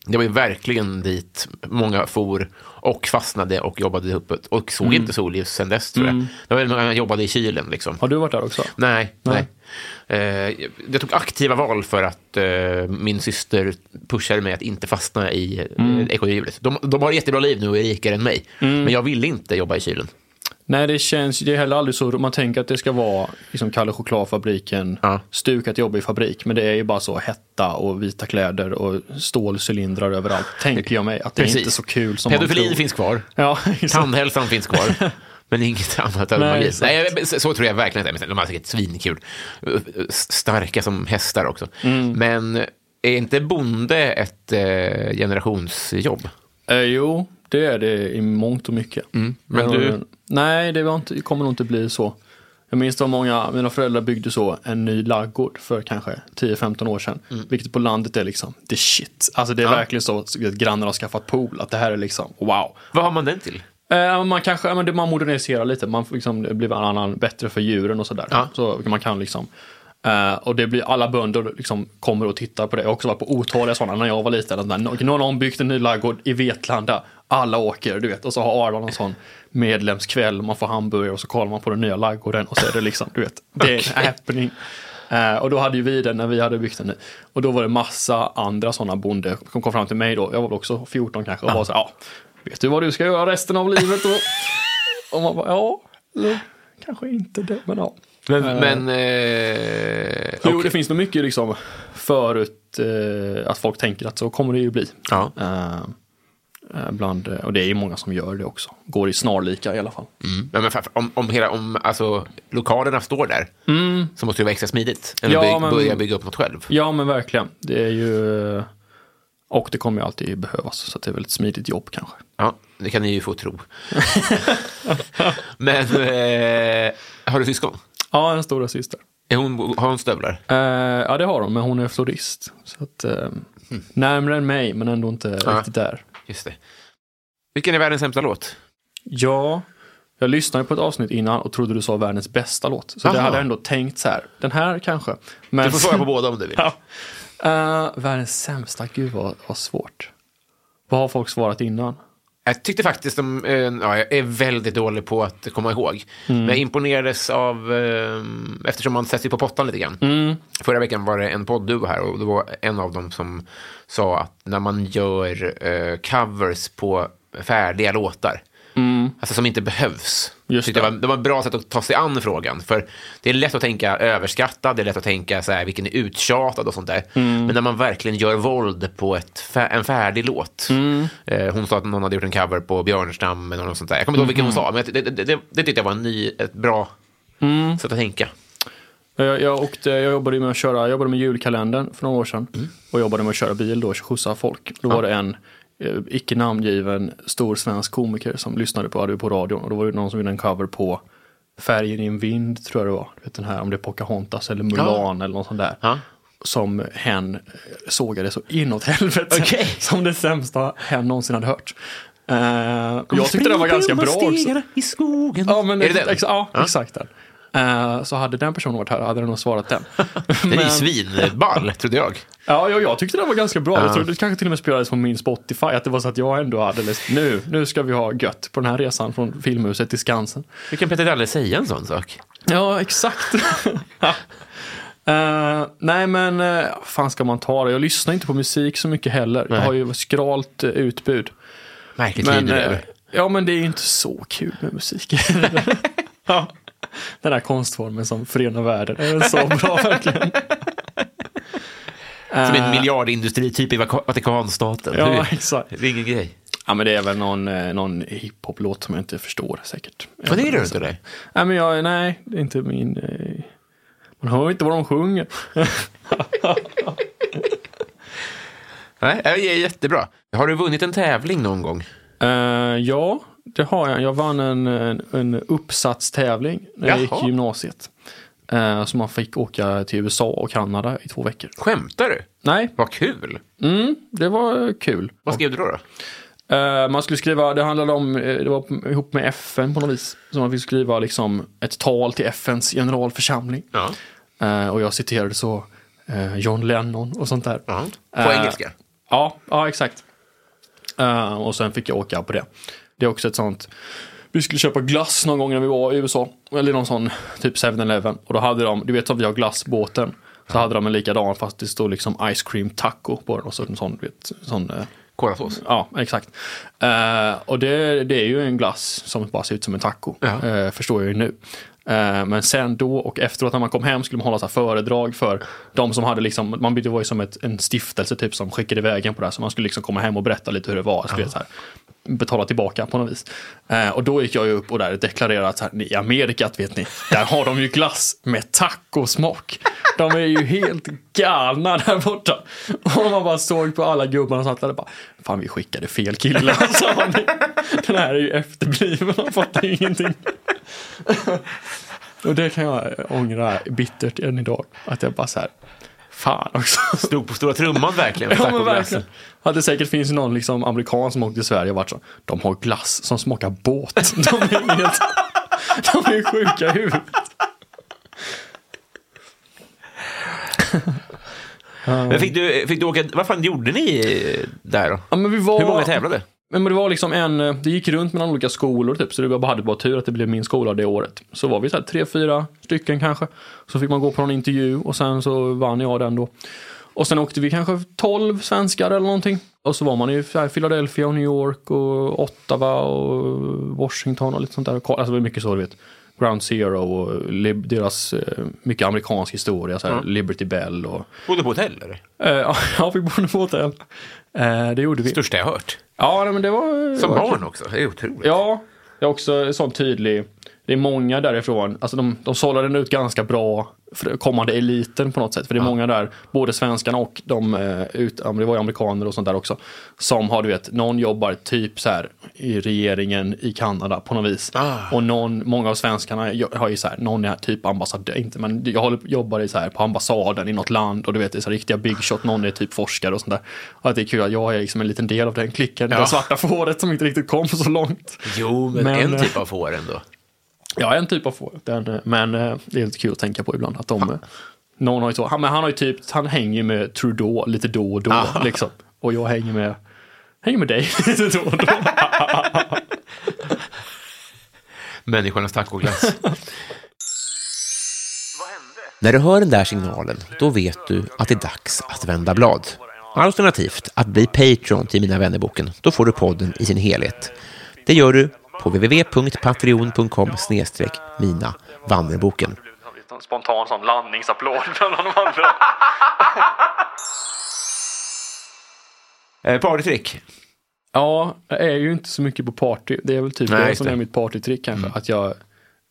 Det var ju verkligen dit många for och fastnade och jobbade uppåt och såg Mm. inte solljus sen dess tror jag. Det var väl många som jobbade i kylen liksom. Har du varit där också? Nej, Nej. nej. Eh, jag tog aktiva val för att eh, min syster pushade mig att inte fastna i eh, Mm. ekorrhjulet. De, de har jättebra liv nu och är rikare än mig, men jag ville inte jobba i kylen. Nej, det känns det är heller aldrig så. Man tänker att det ska vara liksom Kalle Chokladfabriken, Ja. stuk att jobba i fabrik. Men det är ju bara så hetta och vita kläder och stålcylindrar överallt. Tänker jag mig att det är inte så kul som man Pedofilin tror. finns kvar, Ja, exakt. tandhälsan finns kvar. Men inget annat av Nej, magi. exakt. Nej, jag- så- så tror jag verkligen att det är. De har säkert svinkul. Eh, Starka som hästar också. Mm. Men är inte bonde ett eh, generationsjobb? Eh, jo, det är det i mångt och mycket. Mm. men Jag du- har- Nej, det, var inte, det kommer nog inte bli så. Jag minns det var många, mina föräldrar byggde så en ny laggård för kanske 10-15 år sedan. Mm. Vilket på landet är liksom the shit. Alltså det är verkligen så att grannarna har skaffat pool, att det här är liksom wow. Vad har man den till? Eh, man kanske ja, men det- man moderniserar lite, man får liksom, det blir en annan, bättre för djuren och sådär. Ja. Så man kan liksom, eh, och det blir alla bönder liksom kommer och tittar på det. Jag har också varit på otaliga sådana när jag var liten. att När någon har byggt en ny laggård i Vetlanda, alla åker, du vet. Och så har Arlan en sån medlemskväll, man får hamburgare och så kollar man på den nya laggården och så är det liksom, du vet, det är en happening. Eh, och då hade ju vi den när vi hade byggt den. Och då var det massa andra sådana bonde som kom fram till mig då. Jag var väl också 14 kanske och var så här, ja, vet du vad du ska göra resten av livet då? och man bara, ja, eller kanske inte det, men ja. Men, men eh, Jo, okej. det finns nog mycket liksom förut eh, att folk tänker att så kommer det ju bli. Ja. Eh, eh, bland, eh, och det är ju många som gör det också. Går i snarlika i alla fall. Ja, men fa- om, om, hela, om alltså, lokalerna står där så måste det vara extra smidigt än Mm. Ja, att by- men- börja bygga upp något själv. Ja, men verkligen. Det är ju... eh, Och det kommer ju alltid behövas, så att det är väl ett smidigt jobb kanske. Ja, det kan ni ju få tro. men eh, har du syskon? Ja, en stora syster. Är hon, har hon stövlar? Eh, ja, det har hon, men hon är florist. Så att, eh, Närmare än mig, men ändå inte Mm. Ja. riktigt där. Just det. Vilken är världens sämsta låt? Ja, jag lyssnade på ett avsnitt innan och trodde du sa världens bästa låt. Så det Aha. hade jag ändå tänkt så här, den här kanske. Men, Du får svara på båda om du vill. Ja. Eh, världens sämsta, gud vad, vad svårt. Vad har folk svarat innan? Jag tyckte faktiskt de, eh, ja, jag är väldigt dålig på att komma ihåg. Mm. Men jag imponerades av, eh, eftersom man sätter ju på pottan lite grann. Mm. Förra veckan var det en podd du var här och det var en av dem som sa att när man gör eh, covers på färdiga låtar, alltså som inte behövs. Mm. Just Tyckte det. jag var, det var ett bra sätt att ta sig an frågan. För det är lätt att tänka överskattad, det är lätt att tänka så här, vilken är uttjatad och sånt där. Mm. Men när man verkligen gör våld på ett, fä- en färdig låt. Mm. Eh, hon sa att någon hade gjort en cover på Björnstam eller något sånt där. Jag kommer inte ihåg vilken hon sa, Mm. men det, det, det, det tyckte jag var en ny, ett bra sätt att tänka. Jag, jag, åkte, jag jobbade med att köra, jag jobbade med julkalendern för några år sedan Mm. och jobbade med att köra bil då, skjutsa folk. Då var det en eh, icke namngiven stor svensk komiker som lyssnade på radio på radion och då var det någon som gjorde en cover på Färgen i en vind tror jag det var. Du vet den här om det är Pocahontas eller Mulan eller något sånt där. Ja. Som hen eh, sågade så inåt helvete. Okej. Som det sämsta hen någonsin hade hört. Eh, jag tyckte den var ganska bra också. I skogen. Ja, men är det den? ex, ja, exakt den. Eh, så hade den personen varit här hade den nog svarat den. Den är ju svinball, trodde jag. Ja, jag, jag tyckte den var ganska bra. Jag tror det kanske till och med spelades på min Spotify. Att det var så att jag ändå hade läst, nu, nu ska vi ha gött på den här resan från Filmhuset till Skansen. Hur kan Peter Dalle säga en sån sak? Ja, exakt. Eh, nej, men eh, fan ska man ta det? Jag lyssnar inte på musik så mycket heller. Jag har ju skralt eh, utbud. Märkligt Men, liv du eh, lever. ja, men det är ju inte så kul med musik. ja. Den här konstformen som förenar världen. Den är så bra verkligen. Som en miljardindustri, typ i Vaka- Vatikanstaten. Det Ja, är- exakt. Det är ingen grej. Ja, men det är väl någon, eh, någon hiphop-låt som jag inte förstår säkert. Vad är det du inte det? Nej, men jag, nej, det är inte min... eh, Man hör inte vad de sjunger. Nej, det är jättebra. Har du vunnit en tävling någon gång? Eh, ja, det har jag. Jag vann en, en, en uppsatstävling när jag gick Jaha. i gymnasiet. Eh, så man fick åka till USA och Kanada i två veckor. Skämtar du? Nej, Vad kul. Mm, det var eh, kul. Vad skrev du då? då? Eh, man skulle skriva, det handlade om, eh, det var p- ihop med FN på något vis. Så man fick skriva liksom ett tal till FNs generalförsamling. Ja. Eh, och jag citerade så eh, John Lennon och sånt där. Ja. På Eh, engelska? Ja, ja exakt. Eh, och sen fick jag åka på det. Det är också ett sånt, vi skulle köpa glass någon gång när vi var i USA. Eller någon sån typ 7-Eleven. Och då hade de, du vet som vi har glassbåten. Så hade de en likadan fast det stod liksom ice cream taco på den. Och så en sån, du vet, sån eh, Kolasås? Ja, exakt. Eh, och det, det är ju en glass som bara ser ut som en taco, Ja. eh, förstår jag ju nu. Eh, men sen då och efteråt när man kom hem skulle man hålla så här föredrag för de som hade liksom, man det var ju som ett, en stiftelse typ som skickade iväg en på det här, så man skulle liksom komma hem och berätta lite hur det var, så du vet, så här, betala tillbaka på något vis. Eh, och då gick jag ju upp och där deklarerade att så här, "Ni, i Amerika, vet ni, där har de ju glass med tacosmak. De är ju helt galna där borta. Och man bara såg på alla gubbarna som satt där och bara, fan vi skickade fel kille. Alltså, den här är ju efterbliven, han fattar ju ingenting. Och det kan jag ångra bittert än idag. Att jag bara så här, fan också. Stod på stora trumman verkligen. Ja, men tacoglassen. verkligen. Att det säkert finns någon liksom, amerikan som åkte till Sverige och varit så. De har glass som smakar båt. De är, helt, de är sjuka i huvudet. Men fick du, fick du åka, vad fan gjorde ni eh, där då? Ja, men vi var, Hur många tävlade? Men det var liksom en, det gick runt mellan olika skolor typ, så det var bara hade bara tur att det blev min skola det året. Så var vi så här tre, fyra stycken kanske. Så fick man gå på någon intervju och sen så vann jag den då. Och sen åkte vi kanske 12 svenskar eller någonting. Och så var man i så här Philadelphia och New York och Ottawa och Washington och lite sånt där. Alltså det var mycket så du vet. Ground Zero och lib- deras eh, mycket amerikansk historia, så här Liberty Bell och... Bodde på hotell eller? Eh, ja, vi bodde på hotell. Eh, det gjorde vi. Största jag hört. Ja, nej, men det var... Som det var barn också. Det är otroligt. Ja, det är också en sån tydlig. Det är många därifrån. Alltså de, de sållar den ut ganska bra för kommande eliten på något sätt. För det är många där, både svenskarna och de, eh, ut, ja, men det var ju amerikaner och sånt där också. Som har, du vet, någon jobbar typ så här i regeringen i Kanada på något vis. Och någon, många av svenskarna jo- har ju så här, någon är typ ambassadör, inte men jag håller- jobbar i så här på ambassaden i något land och du vet det är så här riktiga big shot, någon är typ forskare och sånt där. Och att det är kul att jag är liksom en liten del av den klicken, det Ja. svarta fåret som inte riktigt kom så långt. Jo, men, Men, en eh, typ av får ändå. Ja, en typ av får. Den, eh, men eh, det är lite kul att tänka på ibland. Att de, eh, någon har ju så, han, men han har ju typ, han hänger ju med Trudeau lite då och då. Ah. Liksom. Och jag hänger med, hänger med dig lite då och då. Människornas tacoglass. När du hör den där signalen, då vet du att det är dags att vända blad. Alternativt att bli Patreon till Mina vännerboken. Då får du podden i sin helhet. Det gör du på www.patreon.com mina vannerboken. Spontan sån landningsapplåd mellan de andra. Eh, partytrick. Ja, jag är ju inte så mycket på party. Det är väl typ Nej, det just som det. Mm. är mitt partytrick kanske. Att jag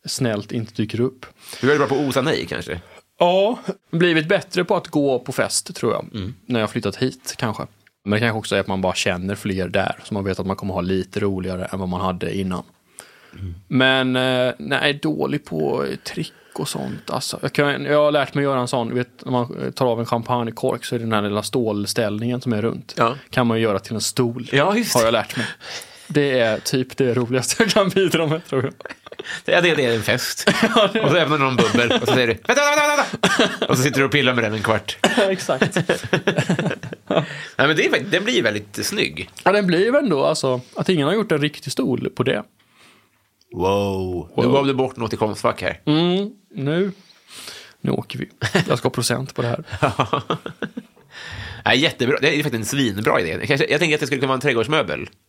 snällt inte dyker upp. Du är bra på att osa nej kanske? Ja, blivit bättre på att gå på fest tror jag. Mm. När jag flyttat hit kanske. Men det kanske också är att man bara känner fler där. Så man vet att man kommer ha lite roligare än vad man hade innan. Mm. Men eh, nej, dålig på eh, trick och sånt. Alltså, jag, kan, jag har lärt mig göra en sån, du vet, när man eh, tar av en champagnekork så är det den här lilla stålställningen som är runt. Ja. Kan man ju göra till en stol, Ja, just det. har jag lärt mig. Det är typ det roligaste jag kan bidra med tror jag. Ja, det, det är en fest. Och så öppnar någon bubbel och så säger du vänta, vänta, vänta, vänta! Och så sitter du och pillar med den en kvart. Exakt. Nej, men det är, fakt- den blir ju väldigt snygg. Ja, den blir ju ändå alltså, att ingen har gjort en riktig stol på det. Wow. Mm. Nu gav du bort något i Konstfack här. Mm. Nu, nu åker vi. Jag ska ha procent på det här. Nej, jättebra. Det är faktiskt en svinbra idé. Jag Kanske, jag tänker att det skulle kunna vara en trädgårdsmöbel.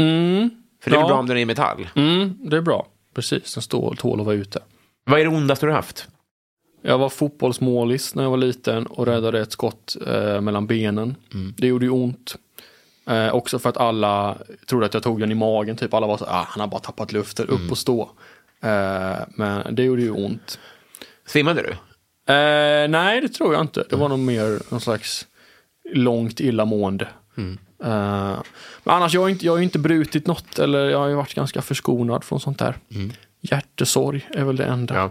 Mm, För det är Ja. väl bra om den är i metall. mm, det är bra. Precis, den stål, tål att vara ute. Vad är det ondaste du har haft? Jag var fotbollsmålis när jag var liten och räddade ett skott eh, mellan benen. Mm. Det gjorde ju ont. Eh, också för att alla trodde att jag tog den i magen. Typ alla var så ah, han har bara tappat luften, Mm. upp och stå. Eh, men det gjorde ju ont. Svimmade du? Eh, nej, det tror jag inte. Det var nog mer någon slags långt illamående. Eh, men annars, jag har, inte, jag har ju inte brutit något eller jag har ju varit ganska förskonad från sånt där. Hjärtesorg är väl det enda.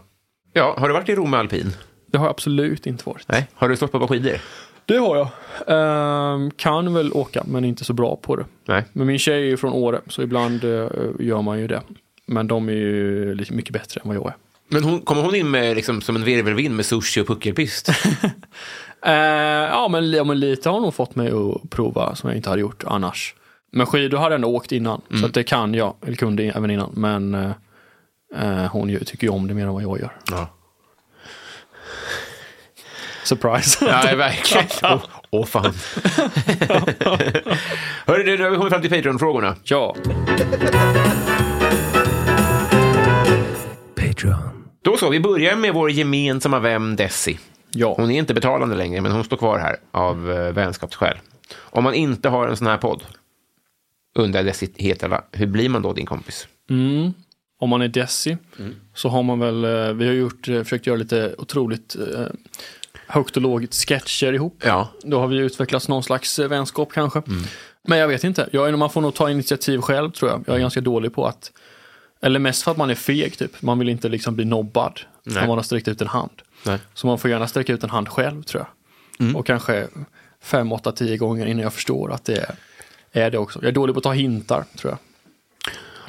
Ja, har du varit i Rom med alpin? Det har jag absolut inte varit. Nej. Har du stått på ett par skidor? Det har jag. Ehm, kan väl åka, men är inte så bra på det. Nej. Men min tjej är ju från Åre, så ibland eh, gör man ju det. Men de är ju lite mycket bättre än vad jag är. Men hon, kommer hon in med, liksom, som en virvelvind med sushi och puckelpist? Eh, ja, men, ja, men lite har hon fått mig att prova som jag inte hade gjort annars. Men skidor hade jag ändå åkt innan, Mm. så att det kan jag, eller kunde även innan. Men eh, eh, hon ju- tycker ju om det mer än vad jag gör. Ja. Surprise. Ja, verkligen. Åh, åh, fan. Hörru du, nu har vi kommit fram till Patreon-frågorna. ja. Då så, vi börjar med vår gemensamma vän Desi. Ja. Hon är inte betalande längre, men hon står kvar här av eh, vänskapsskäl. Om man inte har en sån här podd, undrar Desi Hetala, hur blir man då din kompis? Mm. Om man är Desi Mm. så har man väl, eh, vi har gjort, eh, försökt göra lite otroligt eh, högt och lågt sketcher ihop. Ja. Då har vi utvecklat någon slags eh, vänskap kanske. Mm. Men jag vet inte, jag, är- man får nog ta initiativ själv tror jag. Jag är ganska dålig på att, eller mest för att man är feg typ. Man vill inte liksom bli nobbad om man har sträckt ut en hand. Nej. Mm. Så man får gärna sträcka ut en hand själv tror jag. Och kanske fem, åtta, tio gånger innan jag förstår att det är, är det också. Jag är dålig på att ta hintar tror jag.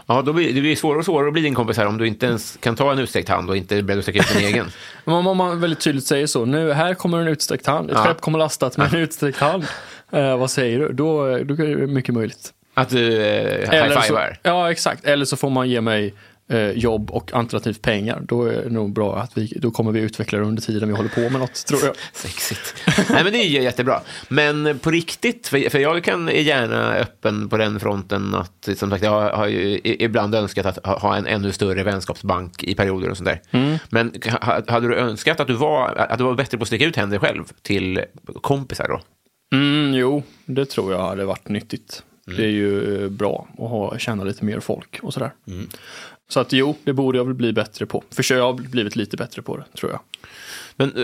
Ja, då blir, det blir svårare och svårare att bli din kompis här om du inte ens kan ta en utsträckt hand och inte är beredd att sträcka ut din egen. Men Om om man väldigt tydligt säger så, nu här kommer en utsträckt hand, ett Ja. skepp kommer lastat med en utsträckt hand. Eh, vad säger du? Då, eh, då är det mycket möjligt. Att du eh, Eller så, high-fivar. ja, exakt. Eller så får man ge mig eh, jobb och alternativt pengar. Då är det nog bra att vi, då kommer vi utveckla det under tiden vi håller på med något, tror jag. Sexigt. Nej, men det är ju jättebra. Men på riktigt, för för jag kan är gärna öppen på den fronten att som sagt, jag har ju i- ibland önskat att ha ha en ännu större vänskapsbank i perioder och sånt där. Men ha- hade du önskat att du, var, att du var bättre på att sticka ut händer själv till kompisar då? Mm, jo, det tror jag hade varit nyttigt. Det är ju eh, bra att ha, känna lite mer folk och sådär. Så att jo, det borde jag väl bli bättre på. För jag har blivit lite bättre på det, tror jag. Men eh,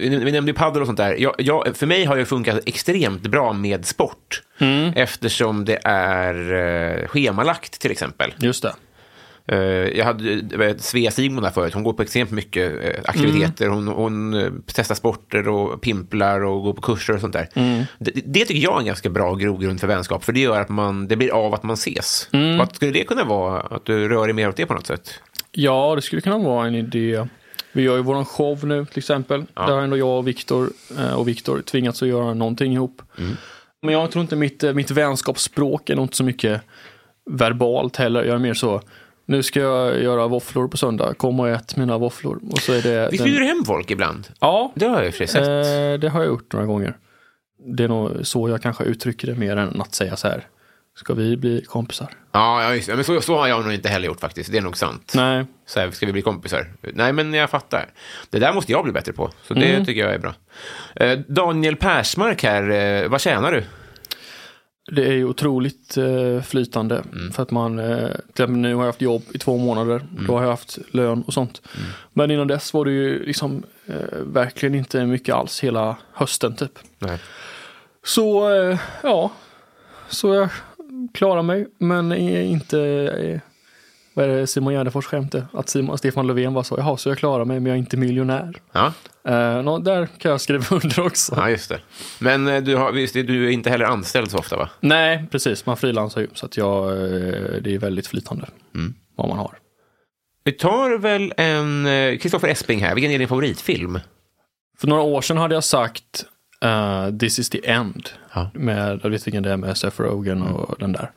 vi vi nämnde ju padel och sånt där. Jag, jag, för mig har det funkat extremt bra med sport. Eftersom det är eh, schemalagt till exempel. Just det. Eh, jag hade eh, det var Svea Simon här förut. Hon går på extremt mycket eh, aktiviteter. Mm. Hon, hon eh, testar sporter och pimplar och går på kurser och sånt där. Mm. Det, det tycker jag är en ganska bra grogrund för vänskap. För det gör att man, det blir av att man ses. Mm. Vad skulle det kunna vara? Att du rör dig mer åt det på något sätt? Ja, det skulle kunna vara en idé. Vi gör ju våran show nu till exempel. Där har ändå jag och Viktor eh, och Viktor tvingats att göra någonting ihop. Men jag tror inte mitt, eh, mitt vänskapsspråk är nog inte så mycket verbalt heller. Jag är mer så, nu ska jag göra våfflor på söndag. Kom och ät mina våfflor. Och så är det... Visst den- bjuder du hem folk ibland? Ja, Det har jag i och för sig sett. eh, det har jag gjort några gånger. Det är nog så jag kanske uttrycker det mer än att säga så här. Ska vi bli kompisar? Ja, ja, just det. Men så, så har jag nog inte heller gjort faktiskt. Det är nog sant. Nej, Så här, ska vi bli kompisar? Nej, men jag fattar. Det där måste jag bli bättre på. Så det Mm. tycker jag är bra. Eh, Daniel Persmark här, eh, vad tjänar du? Det är ju otroligt eh, flytande. För att man, eh, till exempel nu har jag haft jobb i två månader. Då har jag haft lön och sånt. Men innan dess var det ju liksom eh, verkligen inte mycket alls hela hösten typ. Nej. Så eh, ja, så jag klarar mig. Men är inte, eh, vad är det Simon Gärdenfors skämt är? Att Simon, Stefan Löfven var så, jaha så jag klarar mig men jag är inte miljonär. Ja, Eh, nå, där kan jag skriva under också. ja just det. Men eh, du, har, visst, du är inte heller anställd så ofta, va? Nej, precis. Man frilansar ju. Så att jag, eh, det är väldigt flytande Mm. vad man har. Vi tar väl en... Kristoffer Esping här, vilken är din favoritfilm? För några år sedan hade jag sagt eh, This is the end. Ja. Mm. Med, jag vet vilken det är med Seth Rogen och den där.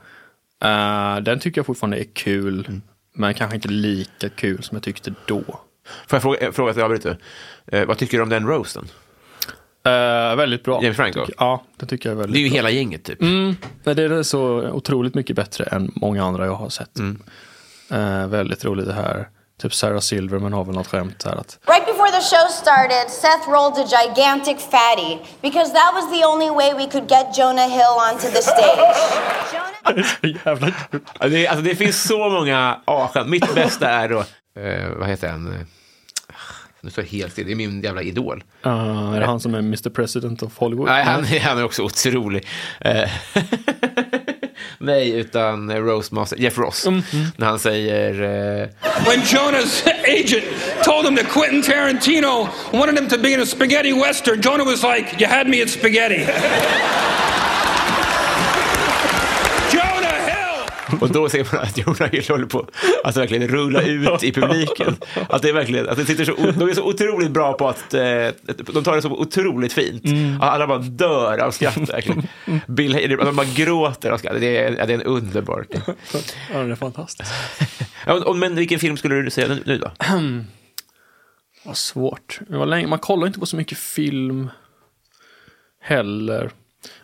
Eh, den tycker jag fortfarande är kul. Mm. Men kanske inte lika kul som jag tyckte då. Får jag fråga, eh, fråga att jag avbryter? Eh, vad tycker du om den roasten? Eh, väldigt bra. James Franco? Tycker- Ja, den tycker jag är Det är väldigt ju bra. hela gänget, typ. Mm. Men det är så otroligt mycket bättre än många andra jag har sett. Mm. Eh, väldigt roligt det här. Typ Sarah Silverman har väl något skämt där att Right before the show started, Seth rolled a gigantic fatty because that was the only way we could get Jonah Hill onto the stage. Jonah- Jävla kul. Ja, Det, alltså, det finns så många A-skämt. Mitt bästa är då, eh, vad heter han? Eh, Nu står jag helt still. Det är min jävla idol. Eh, är det han som är Mr President of Hollywood? Nej, han, han är också otrolig. Eh, Nej, utan eh, Rose Master, Jeff Ross. Mm. När han säger... Eh, When Jonah's agent told him that Quentin Tarantino wanted him to be in a spaghetti western, Jonah was like, You had me at spaghetti. Jonah Hill! och då ser man att Jonah Hill håller på att alltså verkligen rulla ut i publiken. Att det är verkligen, att det sitter så, o- de är så otroligt bra på att... Eh, de tar det så otroligt fint. Att Alla bara dör av skratt. Verkligen. Bill Hader, de bara gråter av skratt. Det är, ja, det är en underbar... Ja, det är fantastiskt. Ja, och- och- men vilken film skulle du säga nu, nu då? Vad svårt. Det var länge. Man kollar inte på så mycket film heller.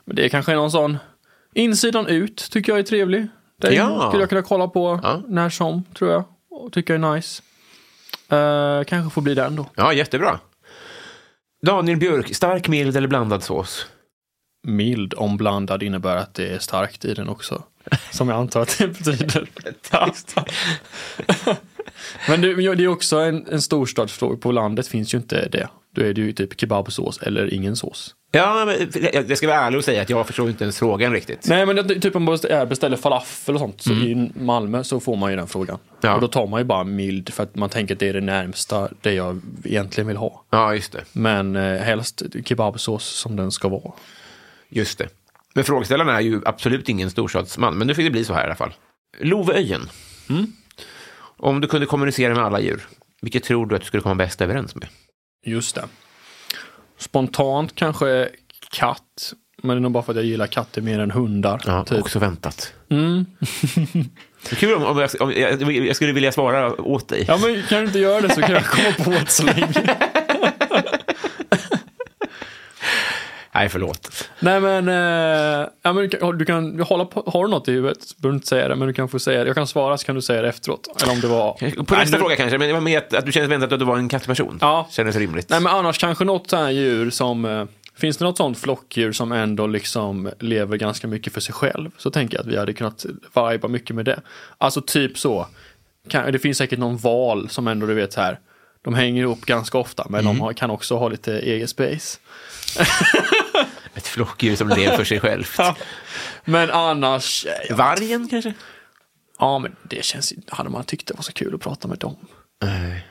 Men det är kanske någon sån... Insidan ut tycker jag är trevlig. Den Ja. skulle jag kunna kolla på Ja. när som, tror jag. Och tycker jag är nice. Eh, kanske får bli den då. Ja, jättebra. Daniel Björk, stark, mild eller blandad sås? Mild omblandad innebär att det är starkt i den också. Som jag antar att det betyder. Men det, det är också en, en storstadsfråga. På landet finns ju inte det. Då är det ju typ kebabsås eller ingen sås. Ja, men jag jag ska vara ärlig och säga att jag förstår inte ens frågan riktigt. Nej men det, typ om man beställer- beställer falafel och sånt så i Malmö så får man ju den frågan. Mm. Ja. Och då tar man ju bara mild för att man tänker att det är det närmsta det jag egentligen vill ha. Ja, just det. Men eh, helst kebabsås som den ska vara. Just det. Men frågeställaren är ju absolut ingen storstadsman, men nu fick det bli så här i alla fall. Love Öjen. Mm. Om du kunde kommunicera med alla djur, vilket tror du att du skulle komma bäst överens med? Just det. Spontant kanske katt. Men det är nog bara för att jag gillar katter mer än hundar. Ja, Mm. typ. också väntat. Det är Kul om, om, jag, om jag, jag skulle vilja svara åt dig. ja men kan du inte göra det så kan jag komma på ett så länge. Nej, förlåt. Nej men, eh, ja, men du kan, du kan hålla på, har du något i huvudet? Du behöver inte säga det men du kan få säga det. Jag kan svara så kan du säga det efteråt. Eller om det var... På Nej, nästa nu- fråga kanske, Äh, men det var med att, att du kände väntat att du var en kattperson. Ja. Kändes rimligt. Nej men annars kanske något så här djur som eh, Finns det något sånt flockdjur som ändå liksom lever ganska mycket för sig själv så tänker jag att vi hade kunnat viba mycket med det. Alltså typ så. Kan, det finns säkert någon val som ändå du vet så här. De hänger ihop ganska ofta men Mm. de har, kan också ha lite egen space. Ett flockdjur som lever för sig självt. Men annars. Vargen kanske? Ja men det känns ju- hade man tyckt det var så kul att prata med dem. Nej.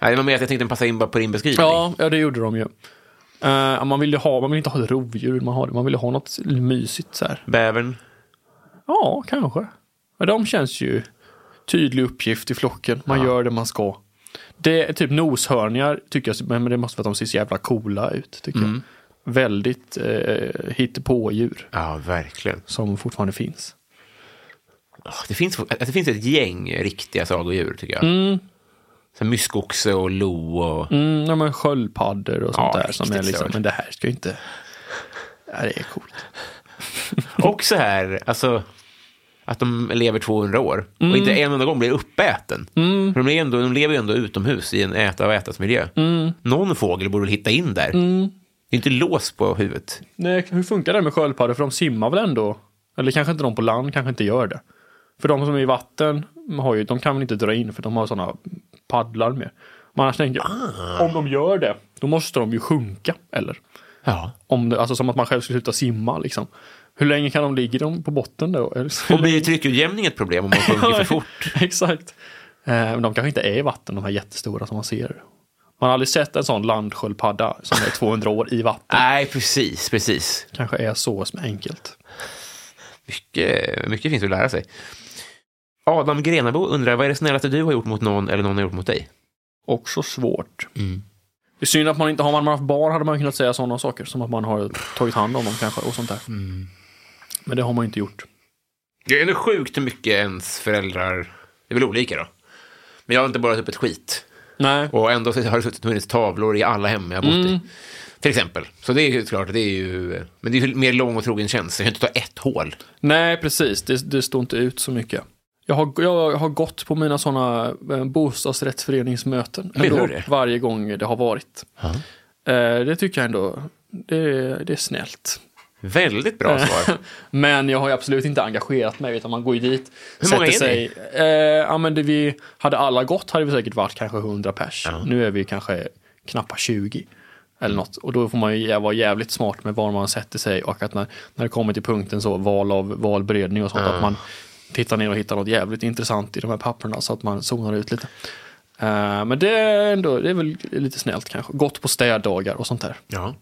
Nej, det var mer att jag tänkte passa in bara på din beskrivning. Ja, ja det gjorde de ju. Eh, man vill ju ha, man vill inte ha ett rovdjur, man, har, man vill ju ha något mysigt så här. Bävern. Ja, kanske. Men de känns ju tydlig uppgift i flocken. Man gör det man ska. Det är typ noshörningar tycker jag, men men det måste vara att de ser så jävla coola ut tycker Mm. jag. Väldigt eh, hittepådjur Ja, verkligen. som fortfarande finns. Åh, Det finns, att det finns ett gäng riktiga sagodjur, tycker jag. Mm. Myskoxe och lo och... Mm, ja, men sköldpaddor och sånt Ja, där som är riktigt liksom, stört. men det här ska ju inte... Ja, det är coolt. Och så här, alltså, att de lever 200 år och inte en enda gång blir uppäten. För de, är ändå, de lever ju ändå utomhus i en äta och ätas miljö. Någon fågel borde väl hitta in där. Det är inte lås på huvudet. Nej, hur funkar det med sköldpaddor? För de simmar väl ändå? Eller kanske inte de på land kanske inte gör det. För de som är i vatten har ju, de kan väl inte dra in för de har sådana paddlar med. Men annars tänker jag, Ah. om de gör det, då måste de ju sjunka, eller? Ja. Om det, alltså som att man själv skulle sluta simma liksom. Hur länge kan de ligga de på botten då? Eller så- Och blir tryckutjämning ett problem om man sjunker för fort? Exakt. Eh, Men de kanske inte är i vatten, de här jättestora som man ser. Man har aldrig sett en sån landsköldpadda som är 200 år i vatten. Nej, precis, precis. Kanske är så enkelt. Mycket, mycket finns att lära sig. Adam Grenabo undrar, vad är det snällaste du har gjort mot någon eller någon har gjort mot dig? Också svårt. Mm. Det är synd att man inte, har man haft barn hade man kunnat säga sådana saker. Som att man har tagit hand om dem kanske och sånt där. Mm. Men det har man ju inte gjort. Det är ändå sjukt hur mycket ens föräldrar... Det är väl olika då. Men jag har inte borrat upp ett skit. Nej. Och ändå så har det suttit- funnits tavlor i alla hem jag har bott i. Mm. Till exempel. Så det är ju klart, det är ju... Men det är ju mer lång och trogen tjänst. Jag kan inte ta ett hål. Nej, precis. Det, det står inte ut så mycket. Jag har, jag har gått på mina sådana bostadsrättsföreningsmöten. Vill du Ändå det? Varje gång det har varit. Eh, det tycker jag ändå, det, det är snällt. Väldigt bra svar. Men jag har ju absolut inte engagerat mig utan man går ju dit. Hur många sätter är sig, eh, ja, men det vi Hade alla gått hade vi säkert varit kanske 100 pers. Nu är vi kanske knappt 20. Eller något. Och då får man ju jä- vara jävligt smart med var man sätter sig och att när, när det kommer till punkten så val av valberedning och sånt att man tittar ner och hittar något jävligt intressant i de här papperna så att man zonar ut lite. Eh, men det är ändå, det är väl lite snällt kanske. Gått på städdagar och sånt där. ja.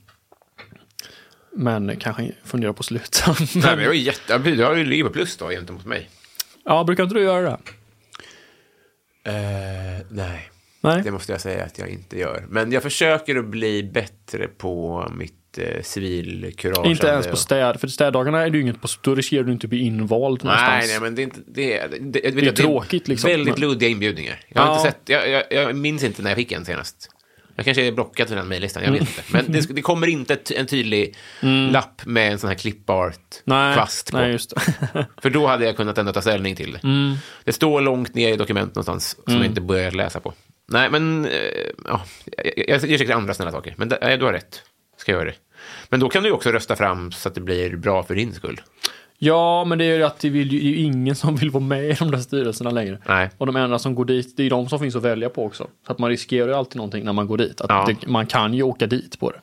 Men kanske fundera på slutan. Nej, men jag är jätte... ja, Du har ju livet plus då gentemot mig. Ja, brukar inte du göra det? nej. Eh, Nej. Det måste jag säga att jag inte gör. Men jag försöker att bli bättre på mitt eh, civilkurage. Inte ens på städ, för städdagarna är det ju inget på, då riskerar du inte att bli invald någonstans. Nej, nej, men det är inte... Det är, det, det, det tråkigt, liksom, Väldigt men- luddiga inbjudningar. Jag, har Ja. inte sett, jag, jag, jag minns inte när jag fick en senast. Jag kanske är blockad från den mejllistan, jag vet Mm. inte. Men det, det kommer inte ett, en tydlig lapp med en sån här nej, clipart-kvast på. nej, just Mm. det. För då hade jag kunnat ändå ta ställning till det. Det står långt ner i dokument någonstans som Mm. jag inte börjat läsa på. Nej, men eh, ja, jag, jag, jag gör säkert andra snälla saker. Men det, nej, du har rätt. Ska jag göra det. Men då kan du ju också rösta fram så att det blir bra för din skull. ja, men det är ju att det, vill, ju- det är ju ingen som vill vara med i de där styrelserna längre. Nej. Och de enda som går dit, det är ju de som finns att välja på också. Så att man riskerar ju alltid någonting när man går dit. Att Ja. det, man kan ju åka dit på det.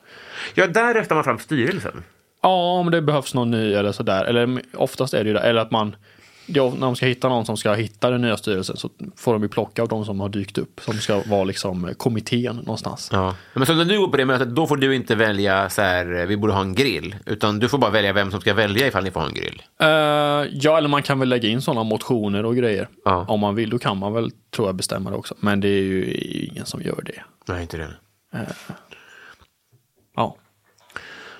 Ja, där röstar man fram styrelsen. Ja, om det behövs någon ny eller sådär. Eller mm, oftast är det ju det. Eller att man, ja, när de ska hitta någon som ska hitta den nya styrelsen så får de ju plocka av de som har dykt upp. Som ska vara liksom eh, kommittén någonstans. Ja. Men så när du går på det mötet, då får du inte välja så här, vi borde ha en grill. Utan du får bara välja vem som ska välja ifall ni får ha en grill. Eh, ja, eller man kan väl lägga in sådana motioner och grejer. Ja. Om man vill, då kan man väl tror jag bestämma det också. Men det är ju ingen som gör det. Nej, inte det. Ja.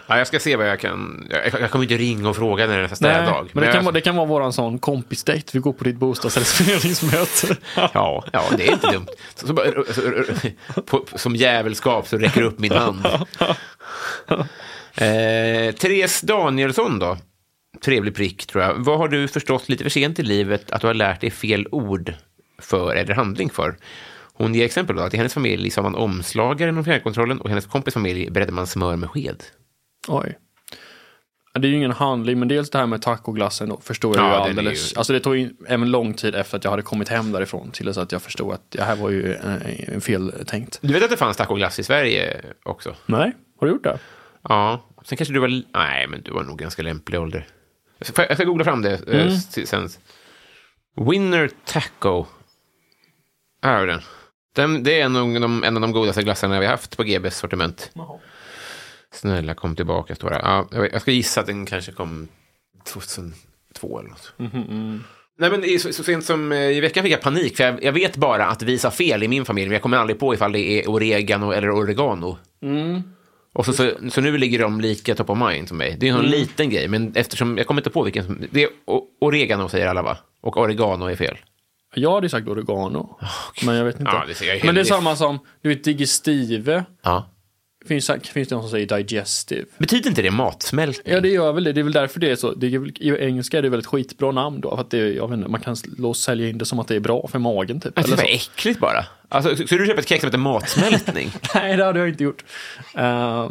Ja, jag ska se vad jag kan... Jag, jag kommer inte ringa och fråga när det är nästa Nej, städdag. men det kan, jag, vara, det kan vara våran sån kompisdejt. Vi går på ditt bostadsrättsföreningsmöte. Ja, ja, det är inte dumt. Så, så, bara- så, på, som jävelskap så räcker upp min hand. Eh, Therese Danielsson då? Trevlig prick, tror jag. Vad har du förstått lite för sent i livet att du har lärt dig fel ord för eller handling för? Hon ger exempel då att i hennes familj sa man omslagare inom fjärrkontrollen och i hennes kompis familj beredde man smör med sked. Oj. Ja, Det är ju ingen handling, men dels det här med tacoglassen då förstår jag Ja, ju den är alldeles. ju- Alltså det tog in- även lång tid efter att jag hade kommit hem därifrån till så att jag förstod att det här var ju eh, feltänkt. Du vet att det fanns tacoglass i Sverige också? Nej, har du gjort det? Ja. Sen kanske du var... Nej, men du var nog ganska lämplig ålder. Jag ska, jag ska googla fram det eh, s- sen. Winner Taco. Här har vi den. den det är en av, de, en av de godaste glassarna vi har haft på GBs sortiment. Snälla kom tillbaka, står det. Ja, jag, vet- jag ska gissa att den kanske kom 2002 eller något. Nej, men i- så, så sent som eh, i veckan fick jag panik, för jag, jag vet bara att vi sa fel i min familj, men jag kommer aldrig på ifall det är oregano eller oregano. Mm. Och så, så, så nu ligger de lika top of mind som mig. Det är en sån Mm. liten grej, men eftersom jag kommer inte på vilken som... Det är o- oregano säger alla, va? Och oregano är fel. Jag hade ju sagt oregano, men jag vet inte. Ja, det ser jag helt- men det är det- samma som, du vet digestive, Ja. finns, finns det någon som säger digestive? Betyder inte det matsmältning? Ja, det gör väl det. Det är väl därför det är så. Det är, väl- I engelska är det väl ett skitbra namn då. För att det, är- jag vet inte, man kan slå, sälja in det som att det är bra för magen typ. Alltså, Eller det så. är äckligt bara. Alltså, så, så du köper ett kex som heter matsmältning? Nej, det hade jag inte gjort. Eh,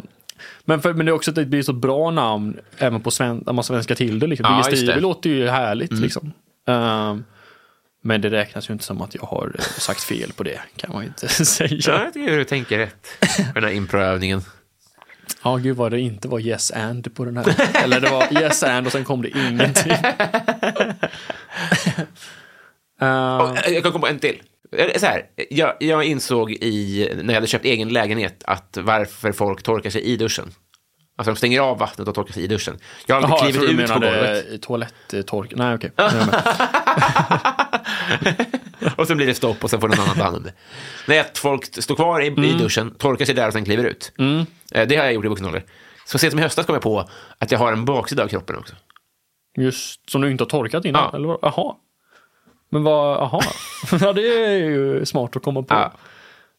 men, för, men det är också att det blir så bra namn även på sven, när man svenskar till det. Liksom. Ja, just Digestive det. Mm. låter ju härligt liksom. Eh, men det räknas ju inte som att jag har eh, sagt fel på det, kan man ju inte ja, säga. jag tycker du tänker rätt på den här improövningen. Ja, gud vad det inte var yes and på den här. Eller det var yes and och sen kom det ingenting. Eh, Och, eh, Jag kan komma på en till. Eller Så här, jag, jag insåg i, när jag hade köpt egen lägenhet att varför folk torkar sig i duschen. Alltså de stänger av vattnet och torkar sig i duschen. Jag har Jaha, aldrig jag klivit trodde ut du på menade eh, golvet. Toaletttork. Nej, okej. Jag är med. och sen blir det stopp och sen får någon annan ta hand om det. Nej, att folk står kvar i, i duschen, torkar sig där och sen kliver ut. Eh, Det har jag gjort i vuxen ålder. Så sent som i höstas kom jag på att jag har en baksida av kroppen också. Just som du inte har torkat innan? Ja. Eller vad? Jaha. Men vad, jaha. ja, det är ju smart att komma på. Ja.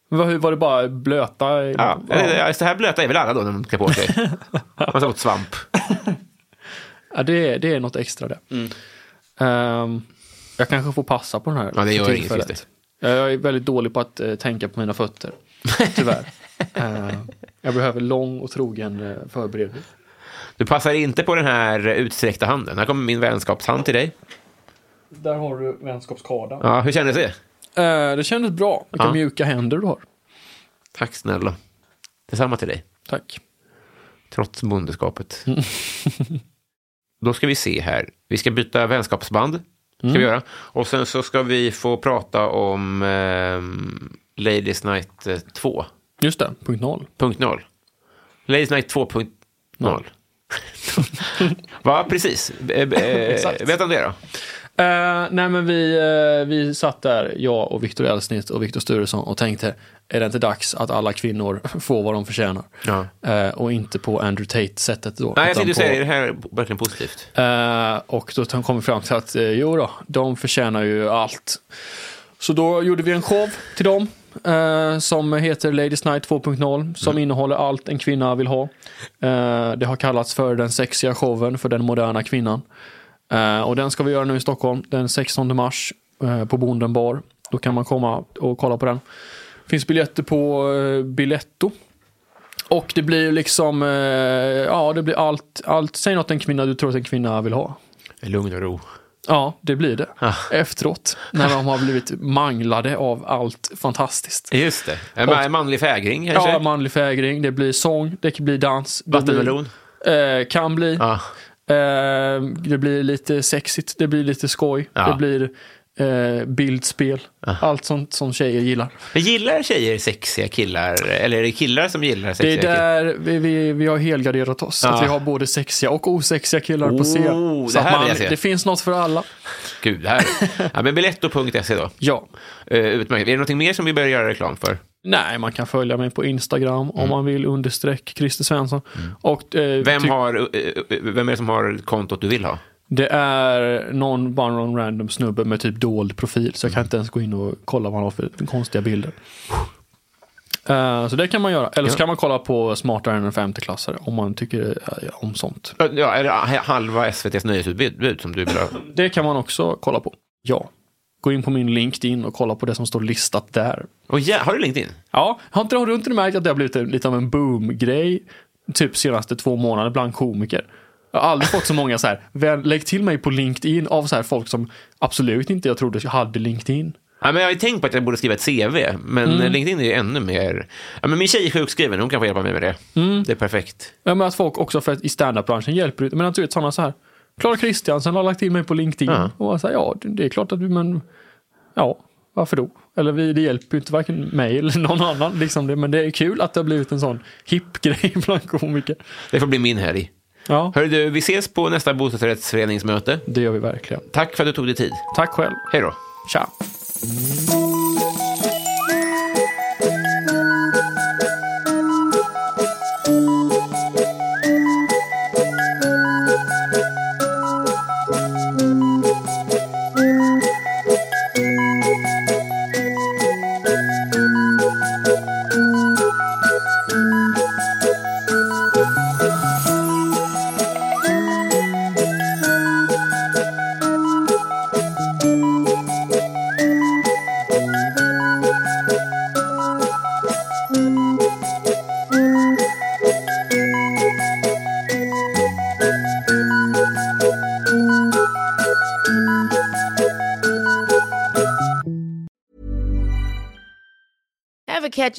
Men vad- hur var det bara blöta? Ja. Ja. Eh, Så här blöta är väl alla då när de klär på sig. Man har åt svamp. Ja, det, är, det är något extra det. Mm. Ehm, jag kanske får passa på den här. Ja, det gör för inget, tillfället. just Jag är väldigt dålig på att eh, tänka på mina fötter. Tyvärr. Ehm, jag behöver lång och trogen eh, förberedning. Du passar inte på den här utsträckta handen. Här kommer min vänskapshand till dig. Där har du vänskapskardan. Ja, hur kändes det? Eh, det kändes bra. Vilka Ja. mjuka händer du har. Tack snälla. Detsamma till dig, Tack. trots bondeskapet. Då ska vi se här. Vi ska byta vänskapsband. Ska Mm. vi göra. Och sen så ska vi få prata om ehm, Ladies Night eh, 2.0. Just det, punkt noll. Ladies Night 2.0. Va, precis. Eh, eh, Exakt. Berätta om det då. Eh, nej men vi, eh, vi satt där, jag och Viktor Eldsnitt och Viktor Sturesson och tänkte, är det inte dags att alla kvinnor får vad de förtjänar? Ja. Eh, och inte på Andrew Tate-sättet då. Nej, jag utan tycker du på- säger det här är verkligen positivt. Eh, och då kom vi fram till att, eh, jo då, de förtjänar ju allt. Så då gjorde vi en show till dem eh, som heter Ladies Night 2.0 som innehåller allt en kvinna vill ha. Eh, det har kallats för den sexiga showen för den moderna kvinnan. Eh, och den ska vi göra nu i Stockholm den 16 mars eh, på Bonden bar. Då kan man komma och kolla på den. Finns biljetter på eh, Biletto. Och det blir liksom, eh, ja det blir allt, allt, säg något en kvinna du tror att en kvinna vill ha. Lugn och ro. Ja, det blir det. Ah. Efteråt, när de har blivit manglade av allt fantastiskt. Just det. En ma- manlig fägring kanske? Ja, manlig fägring, det blir sång, det blir dans. det Vattenmelon? Ah. blir- Eh, kan bli. Ja. Eh, det blir lite sexigt, det blir lite skoj. Ja. Det blir eh, bildspel. Ah. Allt sånt som tjejer gillar. Men gillar tjejer sexiga killar? Eller är det killar som gillar Det sexiga är där vi, vi, vi har helgarderat oss. Att vi har både sexiga och osexiga killar på scen. Ah. Oh, Så det att här vill jag se. det finns något för alla. killar? Gud, det här. Ja, men biletto.se E då. Ja. Eh, utmärkt. Är det någonting mer som vi bör göra reklam för? Nej, man kan följa mig på Instagram om man vill, understreck Christer Svensson. Och, eh, Mm. Vem, ty- har, eh, eh, vem är det som har kontot du vill ha? Det är någon bara någon random snubbe med typ dold profil, så jag Mm. kan inte ens gå in och kolla vad han har för konstiga bilder. Eh, så det kan man göra. Eller så Ja. kan man kolla på smartare än en femteklassare om man tycker eh, om sånt. Ja, är det halva SVTs nöjesutbud som du vill ha? Det kan man också kolla på. Ja. Gå in på min LinkedIn och kolla på det som står listat där. Oh, ja, har du LinkedIn? Ja, har inte, har du inte märkt att det har blivit en, lite av en boom-grej typ senaste två månader bland komiker. Jag har aldrig fått så många så här, väl, lägg till mig på LinkedIn av så här folk som absolut inte jag trodde hade LinkedIn. Ja, men jag har ju tänkt på att jag borde skriva ett CV, men LinkedIn är ju ännu mer... Ja, men min tjej är sjukskriven, hon kan få hjälpa mig med det. Det är perfekt. Ja, men att folk också för att i standup-branschen hjälper ut. Men att du vet sådana så här. Klara Kristiansen har lagt till mig på LinkedIn. Ja. Och jag säger ja, det det är klart att vi, men ja, varför då? Eller vi, det hjälper ju inte varken mig eller någon annan. Liksom det, men det är kul att det har blivit en sån hipp grej bland komiker. Det får bli min helg. Ja, Hörru du, vi ses på nästa bostadsrättsföreningsmöte. det gör vi verkligen. Tack för att du tog dig tid. Tack själv. Hej då. Tja. Ever catch